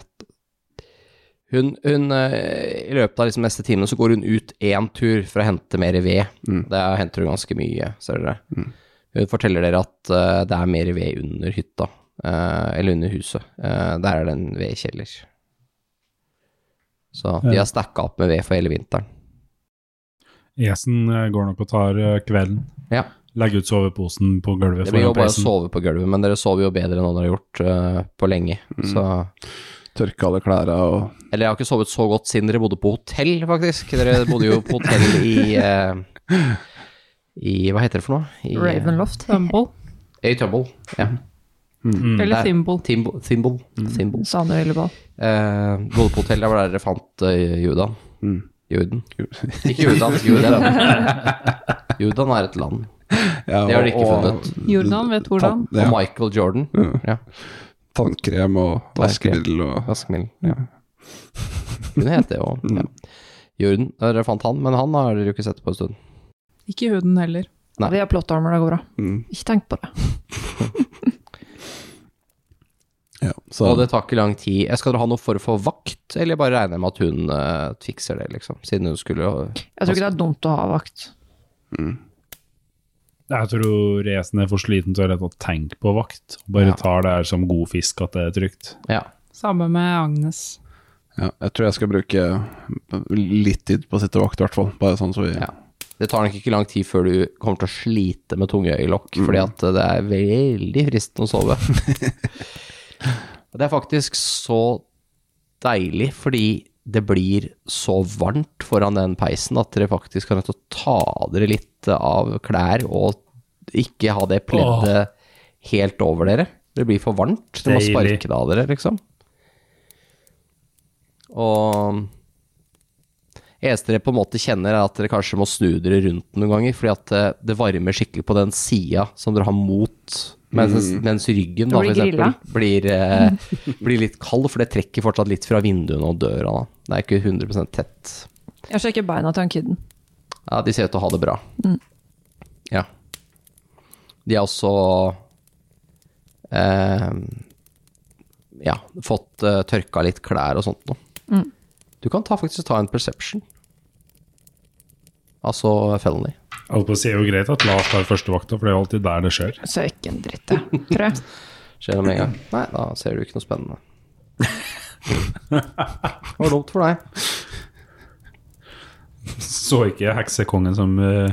Speaker 4: Hun, hun eh, I løpet av liksom neste time så går hun ut én tur for å hente mer ved.
Speaker 2: Mm.
Speaker 4: Det henter hun ganske mye, ser dere.
Speaker 2: Mm.
Speaker 4: Hun forteller dere at eh, det er mer ved under hytta, eh, eller under huset. Eh, der er det en vedkjeller. Så de
Speaker 7: Ja.
Speaker 4: har stacka opp med ved for hele vinteren.
Speaker 7: Esen eh, går nok og tar eh, kvelden.
Speaker 4: Ja.
Speaker 7: Legger ut soveposen på gulvet.
Speaker 4: Det blir jo
Speaker 7: foran
Speaker 4: bare å
Speaker 7: peisen.
Speaker 4: sove på gulvet, men dere sover jo bedre enn dere har gjort eh, på lenge.
Speaker 7: Mm.
Speaker 4: Så
Speaker 2: tørke alle klærne og
Speaker 4: Eller jeg har ikke sovet så godt siden dere bodde på hotell, faktisk. Dere bodde jo på hotell i eh, I eh, Hva heter det for noe? I,
Speaker 6: Ravenloft.
Speaker 3: Tumble.
Speaker 4: I Tumble. Ja.
Speaker 7: Mm.
Speaker 3: Eller
Speaker 4: Mm, Det er-
Speaker 3: Thimble.
Speaker 4: Thimble. Thimble.
Speaker 2: Mm.
Speaker 4: Thimble.
Speaker 6: Sanehøyleball.
Speaker 4: Eh, bodde på hotell, der var der dere fant eh, Judan.
Speaker 2: Mm.
Speaker 4: Juden. Ikke Judan, Judan. Judan er et land.
Speaker 2: Ja,
Speaker 4: Det har de ikke
Speaker 2: og-
Speaker 4: funnet.
Speaker 3: Jordan vet hvordan.
Speaker 2: Ja. Mm.
Speaker 4: Og Michael Jordan. Ja,
Speaker 2: Tannkrem og
Speaker 4: Tannkrem.
Speaker 2: vaskemiddel og
Speaker 4: vaskemiddel.
Speaker 2: ja. Mm.
Speaker 4: Hun het det òg. Ja. Jordan, eh, dere fant han, men han har dere jo ikke sett på en stund.
Speaker 3: Ikke huden heller.
Speaker 4: Nei.
Speaker 6: Vi har plottarmer, det går bra.
Speaker 2: Mm.
Speaker 6: Ikke tenk på det.
Speaker 2: ja. Så
Speaker 4: Og det tar ikke lang tid. Eh, Skal dere ha noe for å få vakt, eller bare regner jeg med at hun eh, fikser det, liksom? Siden hun skulle
Speaker 6: Jeg tror ikke det er dumt å ha vakt.
Speaker 7: Jeg tror resen er for sliten til å rett og slett tenke på vakt. Bare
Speaker 4: Ja.
Speaker 7: tar det her som god fisk at det er trygt.
Speaker 4: Ja.
Speaker 3: Samme med Agnes.
Speaker 2: ja, jeg tror jeg skal bruke litt tid på å sitte vakt, i hvert fall. Bare sånn så vi
Speaker 4: Ja. Det tar nok ikke lang tid før du kommer til å slite med tungeøyelokk, fordi at det er veldig fristende å sove. Og det er faktisk så deilig, fordi det blir så varmt foran den peisen at dere faktisk kan nødt til å ta av dere litt av klær og ikke ha det pleddet helt over dere. Det blir for varmt. Dere må
Speaker 7: Deilig.
Speaker 4: sparke det av dere, liksom. Og eneste dere på en måte kjenner, er at dere kanskje må snu dere rundt noen ganger, fordi at eh, det varmer skikkelig på den sida som dere har mot. Mens, mens ryggen da,
Speaker 6: blir
Speaker 4: for eksempel,
Speaker 6: grilla.
Speaker 4: blir, eh, blir litt kald, for det trekker fortsatt litt fra vinduene og døra. Da. Det er ikke 100 tett.
Speaker 6: Jeg sjekker beina til han kiden.
Speaker 4: Ja, de ser ut til å ha det bra. Ja. De har også eh, ja, fått eh, tørka litt klær og sånt nå. Du kan ta, faktisk ta en perception. Altså felony.
Speaker 7: Holdt på å si det er jo greit at Lars tar førstevakta, for det er jo alltid der det skjer.
Speaker 6: Ser ikke en dritt, jeg. Tror jeg.
Speaker 4: Skjer det med en gang? Nei, da ser du ikke noe spennende. Det var dumt for deg.
Speaker 7: Så ikke heksekongen som eh,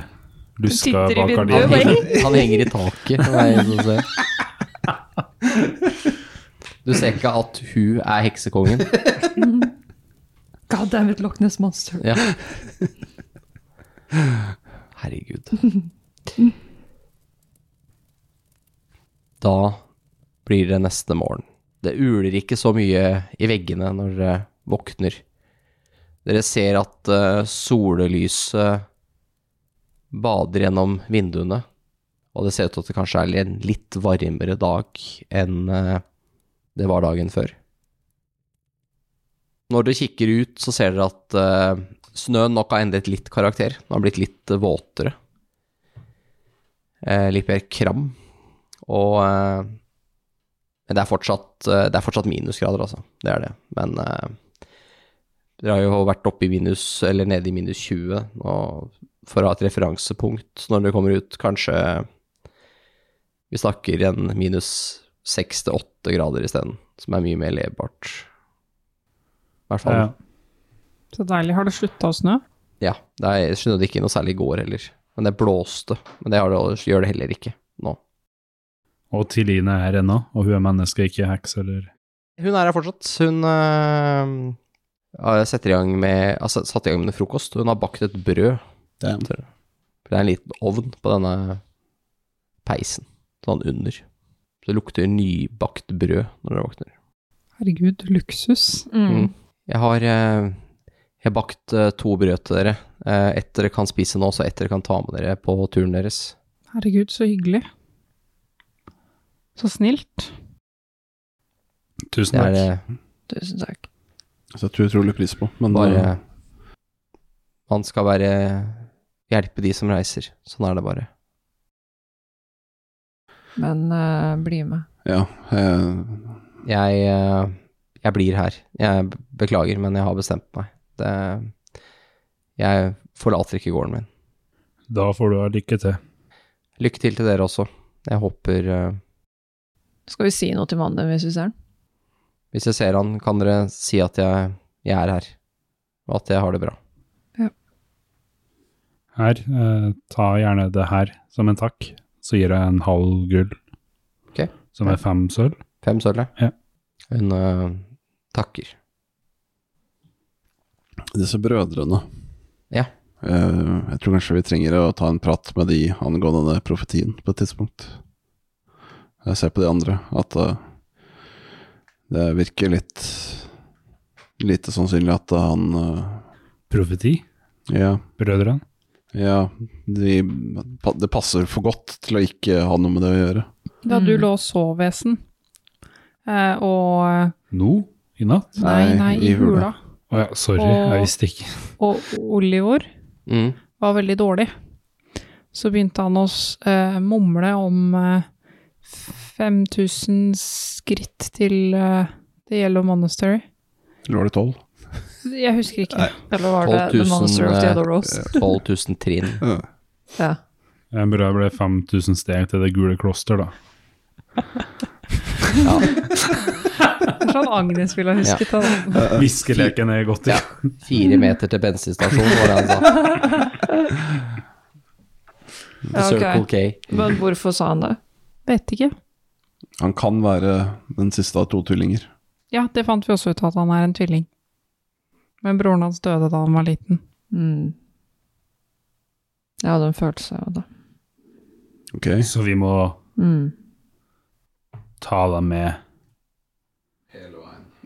Speaker 7: luska
Speaker 3: Titter i
Speaker 7: bak
Speaker 3: vinduet,
Speaker 7: gardinen.
Speaker 3: bare.
Speaker 4: Han henger i taket. Det er ingen som ser. Du ser ikke at hun er heksekongen.
Speaker 6: God damn it, Loch Ness Monster.
Speaker 4: Ja. Herregud. Da blir det neste morgen. Det uler ikke så mye i veggene når dere våkner. Dere ser at eh, sollelyset bader gjennom vinduene, og det ser ut til at det kanskje er en litt varmere dag enn eh, det var dagen før. Når dere kikker ut, så ser dere at eh, snøen nok har endret litt karakter. Den har blitt litt eh, våtere. Eh, litt mer kram. Og eh, Men det er fortsatt, eh, det er fortsatt minusgrader, altså. Det er det. Men eh, dere har jo vært oppe i minus, eller nede i minus 20, og for å ha et referansepunkt når dere kommer ut, kanskje vi snakker en minus 6 til 8 grader isteden, som er mye mer levbart. I hvert fall.
Speaker 7: Ja.
Speaker 3: Så deilig. Har det slutta å snø?
Speaker 4: Ja, det er, jeg skjønner det ikke noe særlig i går heller. Men det blåste. Men det har det, gjør det heller ikke nå.
Speaker 7: Og Tiline er her ennå, og hun er menneske, ikke heks eller
Speaker 4: Hun er her fortsatt. Hun øh, har setter i gang med, altså, satt i gang med frokost. Hun har bakt et brød.
Speaker 2: Damn.
Speaker 4: til det. For det er en liten ovn på denne peisen, sånn under. Så det lukter nybakt brød når dere våkner.
Speaker 3: Herregud, luksus.
Speaker 4: Mm. Jeg har, eh, jeg har bakt eh, to brød til dere. Eh, Ett dere kan spise nå, så ett dere kan ta med dere på turen deres.
Speaker 3: Herregud, så hyggelig. Så snilt.
Speaker 7: Tusen
Speaker 4: Det er eh, det
Speaker 7: takk.
Speaker 6: Tusen takk.
Speaker 2: setter vi utrolig pris på. Men
Speaker 4: Bare
Speaker 2: eh,
Speaker 4: Man skal være Hjelpe de som reiser. Sånn er det bare.
Speaker 6: Men eh, bli med.
Speaker 2: ja, eh,
Speaker 4: Jeg eh, Jeg blir her. Jeg beklager, men jeg har bestemt meg. Det Jeg forlater ikke gården min.
Speaker 7: Da får du ha lykke til.
Speaker 4: Lykke til til dere også. Jeg håper eh,
Speaker 6: Skal vi si noe til mannen din hvis vi ser han?
Speaker 4: Hvis jeg ser han, kan dere si at jeg, jeg er her, og at jeg har det bra.
Speaker 7: Her, eh, ta gjerne det her som en takk. Så gir jeg en halv gull,
Speaker 4: Ok.
Speaker 7: som er fem sølv.
Speaker 4: Fem sølv,
Speaker 7: Ja.
Speaker 4: Hun eh, takker.
Speaker 2: disse brødrene
Speaker 4: Ja.
Speaker 2: eh, Jeg tror kanskje vi trenger å ta en prat med de angående den profetien på et tidspunkt. Jeg ser på de andre at eh, det virker litt lite sannsynlig at han
Speaker 7: Profeti,
Speaker 2: eh, Ja,
Speaker 7: brødrene.
Speaker 2: ja de, pa- det passer for godt til å ikke ha noe med det å gjøre.
Speaker 3: Da du
Speaker 6: Mm.
Speaker 3: lå og sov, Vesen, eh, og
Speaker 7: Nå? I natt?
Speaker 3: Nei, nei, i hula.
Speaker 7: Å ja, sorry,
Speaker 3: Og-
Speaker 7: jeg visste ikke.
Speaker 3: Og Olivor
Speaker 4: Mm.
Speaker 3: var veldig dårlig. Så begynte han å s- eh, mumle om eh, 5000 skritt til eh, The Yellow Monastery.
Speaker 2: Eller var det tolv?
Speaker 3: Jeg husker ikke.
Speaker 6: Eller var det
Speaker 4: 12 000,
Speaker 6: The Monster of
Speaker 4: eh,
Speaker 6: the Other Rose?
Speaker 4: 12 000 trinn.
Speaker 6: Ja.
Speaker 7: Jeg burde ble 5000 steg til det gule kloster, da.
Speaker 3: Kanskje han Agnes ville ha husket det. da.
Speaker 7: Viskeleken er godt i
Speaker 4: Ja. Fire meter til bensinstasjonen, var det han sa.
Speaker 6: Ja, ok.
Speaker 4: Circle K.
Speaker 6: Men hvorfor sa han det?
Speaker 3: Vet ikke.
Speaker 2: Han kan være den siste av to tvillinger.
Speaker 3: Ja, det fant vi også ut at han er en tvilling. Men broren hans døde da han var liten.
Speaker 6: Mm. Jeg hadde en følelse av det.
Speaker 2: Ok,
Speaker 7: Så vi må
Speaker 6: Mm.
Speaker 7: ta dem med.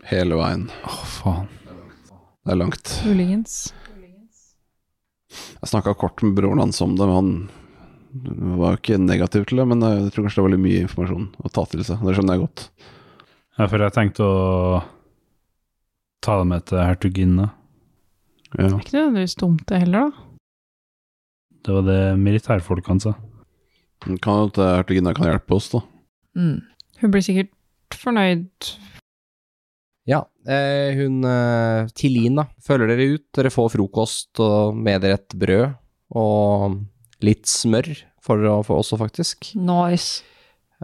Speaker 2: Hele veien.
Speaker 7: Å, faen.
Speaker 2: Det er langt.
Speaker 3: Muligens.
Speaker 2: Jeg snakka kort med broren hans om det, men han var jo ikke negativ til det. Men jeg tror kanskje det var litt mye informasjon å ta til seg. Det skjønner jeg godt.
Speaker 7: Ja, for jeg tenkte å ta dem med til hertuginne.
Speaker 2: Ja.
Speaker 3: Det er ikke nødvendigvis dumt det heller, da.
Speaker 7: Det var det militærfolkene sa.
Speaker 2: Men Kan jo at hertuginna kan hjelpe oss, da.
Speaker 6: Mm.
Speaker 3: Hun blir sikkert fornøyd.
Speaker 4: Ja, eh, hun eh, Tilina følger dere ut. Dere får frokost og med dere et brød og litt smør for å få også, faktisk.
Speaker 6: Nice.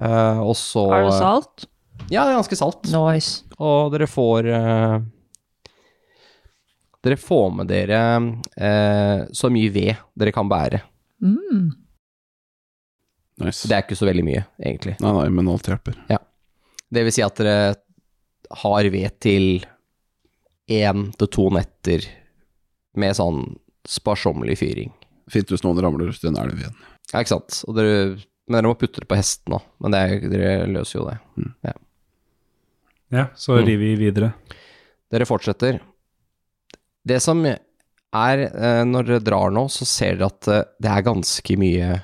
Speaker 4: Eh, og så eh,
Speaker 6: Er det salt?
Speaker 4: Ja, det er ganske salt.
Speaker 6: Nice.
Speaker 4: Og dere får eh, Dere får med dere eh, så mye ved dere kan bære.
Speaker 6: Mm.
Speaker 2: Nice.
Speaker 4: Det er ikke så veldig mye, egentlig.
Speaker 2: Nei, nei, men alt hjelper.
Speaker 4: Det vil si at dere har ved til én til to netter med sånn sparsommelig fyring.
Speaker 2: Fint hvis noen ramler uti en elv igjen.
Speaker 4: Ja, ikke sant. Og dere, men dere må putte det på hestene òg. Men det er, jo- dere løser jo det.
Speaker 7: Ja, så
Speaker 4: Mm.
Speaker 7: rir vi videre.
Speaker 4: Dere fortsetter. Det som er eh, Når dere drar nå, så ser dere at eh, det er ganske mye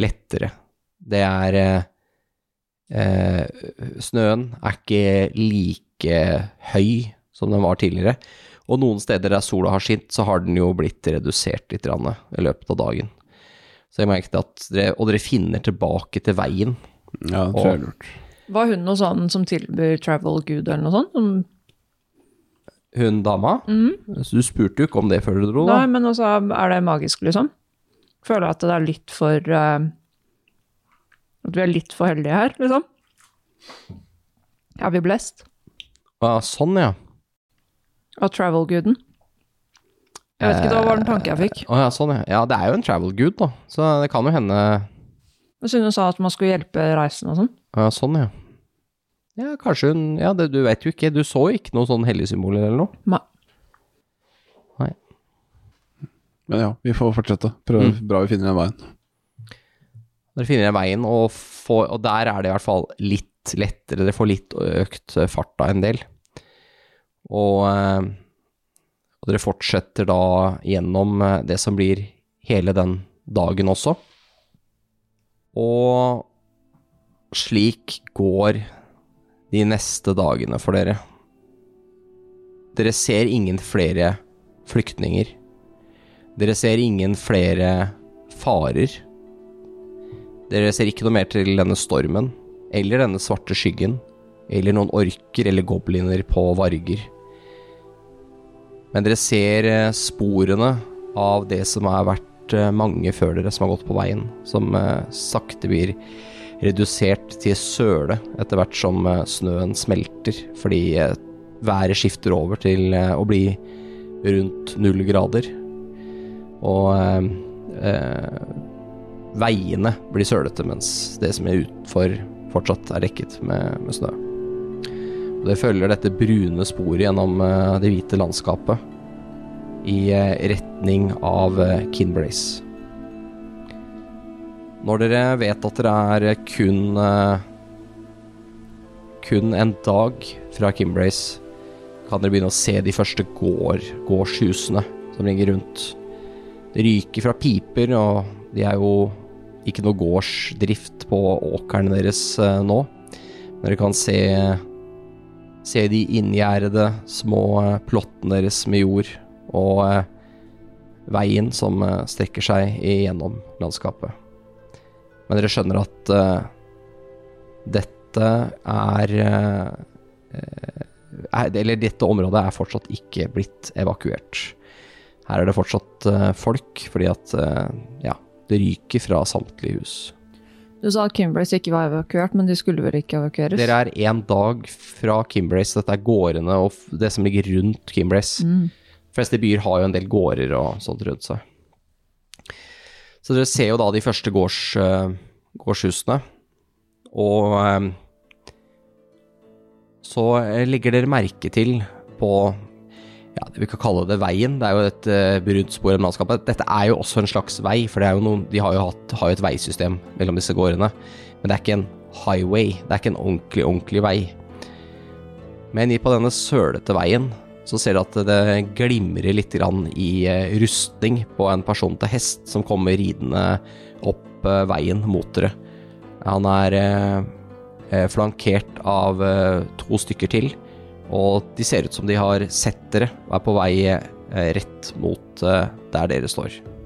Speaker 4: lettere. Det er eh, eh, Snøen er ikke like høy som den var tidligere. Og noen steder der sola har skint, så har den jo blitt redusert litt grann i løpet av dagen. Så jeg merket at dere, Og dere finner tilbake til veien.
Speaker 2: Ja, det tror jeg er lurt.
Speaker 6: Var hun noe sånn som tilbyr travel good eller noe sånt? Som,
Speaker 4: Hun dama Så du spurte jo ikke om det før du dro, da.
Speaker 6: Nei, men også er det magisk, liksom. Føler at det er litt for eh, At vi er litt for heldige her, liksom. Er vi blessed
Speaker 4: Ah, sånn, ja.
Speaker 6: av travel gooden? Jeg vet ikke, det var en tanke jeg fikk.
Speaker 4: Å ja, sånn ja. Ja, det er jo en travel good, da. Så det kan jo hende
Speaker 6: Jeg synes hun sa at man skulle hjelpe reisen og sånn.
Speaker 4: ja, Sånn, ja. Ja, kanskje hun Ja, det, du vet jo ikke. Du så jo ikke noen sånne helligsymboler eller noe.
Speaker 6: Ma-
Speaker 2: Men ja, vi får fortsette. Prøv, Bra vi finner den veien.
Speaker 4: Dere finner den veien, og, får, og der er det i hvert fall litt lettere. Dere får litt økt farta en del. Og, eh, og dere fortsetter da gjennom eh, det som blir hele den dagen også. Og slik går de neste dagene for dere. Dere ser ingen flere flyktninger. Dere ser ingen flere farer. Dere ser ikke noe mer til denne stormen, eller denne svarte skyggen, eller noen orker eller gobliner på varger. Men dere ser eh, sporene av det som har vært eh, mange før dere som har gått på veien, som eh, sakte blir redusert til søle etter hvert som eh, snøen smelter, fordi eh, været skifter over til eh, å bli rundt null grader. Og eh, eh, veiene blir sølete, mens det som er utenfor fortsatt er dekket med, med snø. Og det følger dette brune sporet gjennom eh, det hvite landskapet eh, i eh, retning av uh, Kinbrace. Når dere vet at dere er kun eh, kun en dag fra Kimbrace, kan dere begynne å se de første gård, gårdshusene som ligger rundt. Det ryker fra piper, og de er jo ikke noe gårdsdrift på åkerne deres eh, nå. Men dere kan se se de inngjerdede små eh, plottene deres med jord, og eh, veien som eh, strekker seg igjennom landskapet. Men dere skjønner at eh, dette er eh, eh, er- Eller dette området er fortsatt ikke blitt evakuert. Her er det fortsatt eh, folk, fordi at eh, ja, det ryker fra samtlige hus.
Speaker 6: Du sa at Kimbrace ikke var evakuert, men de skulle vel ikke evakueres?
Speaker 4: Dere er én dag fra Kimbrace. Dette er gårdene og f- det som ligger rundt Kimbrace.
Speaker 6: Mm.
Speaker 4: De fleste byer har jo en del gårder og sånt rundt seg. Så dere ser jo da de første gårds, eh, gårdshusene. Og eh, så eh, legger dere merke til på ja, det vi kan kalle det veien. Det er jo et eh, brudd spor i landskapet. Dette er jo også en slags vei, for det er jo noen, de har jo, hatt, har jo et veisystem mellom disse gårdene. Men det er ikke en highway. Det er ikke en ordentlig, ordentlig vei. Men i- på denne sølete veien så ser du at det glimrer litt grann i eh, rustning på en person til hest som kommer ridende opp eh, veien mot dere. Han er eh, eh, flankert av eh, to stykker til, og de ser ut som de har sett dere og er på vei eh, rett mot eh, der dere står.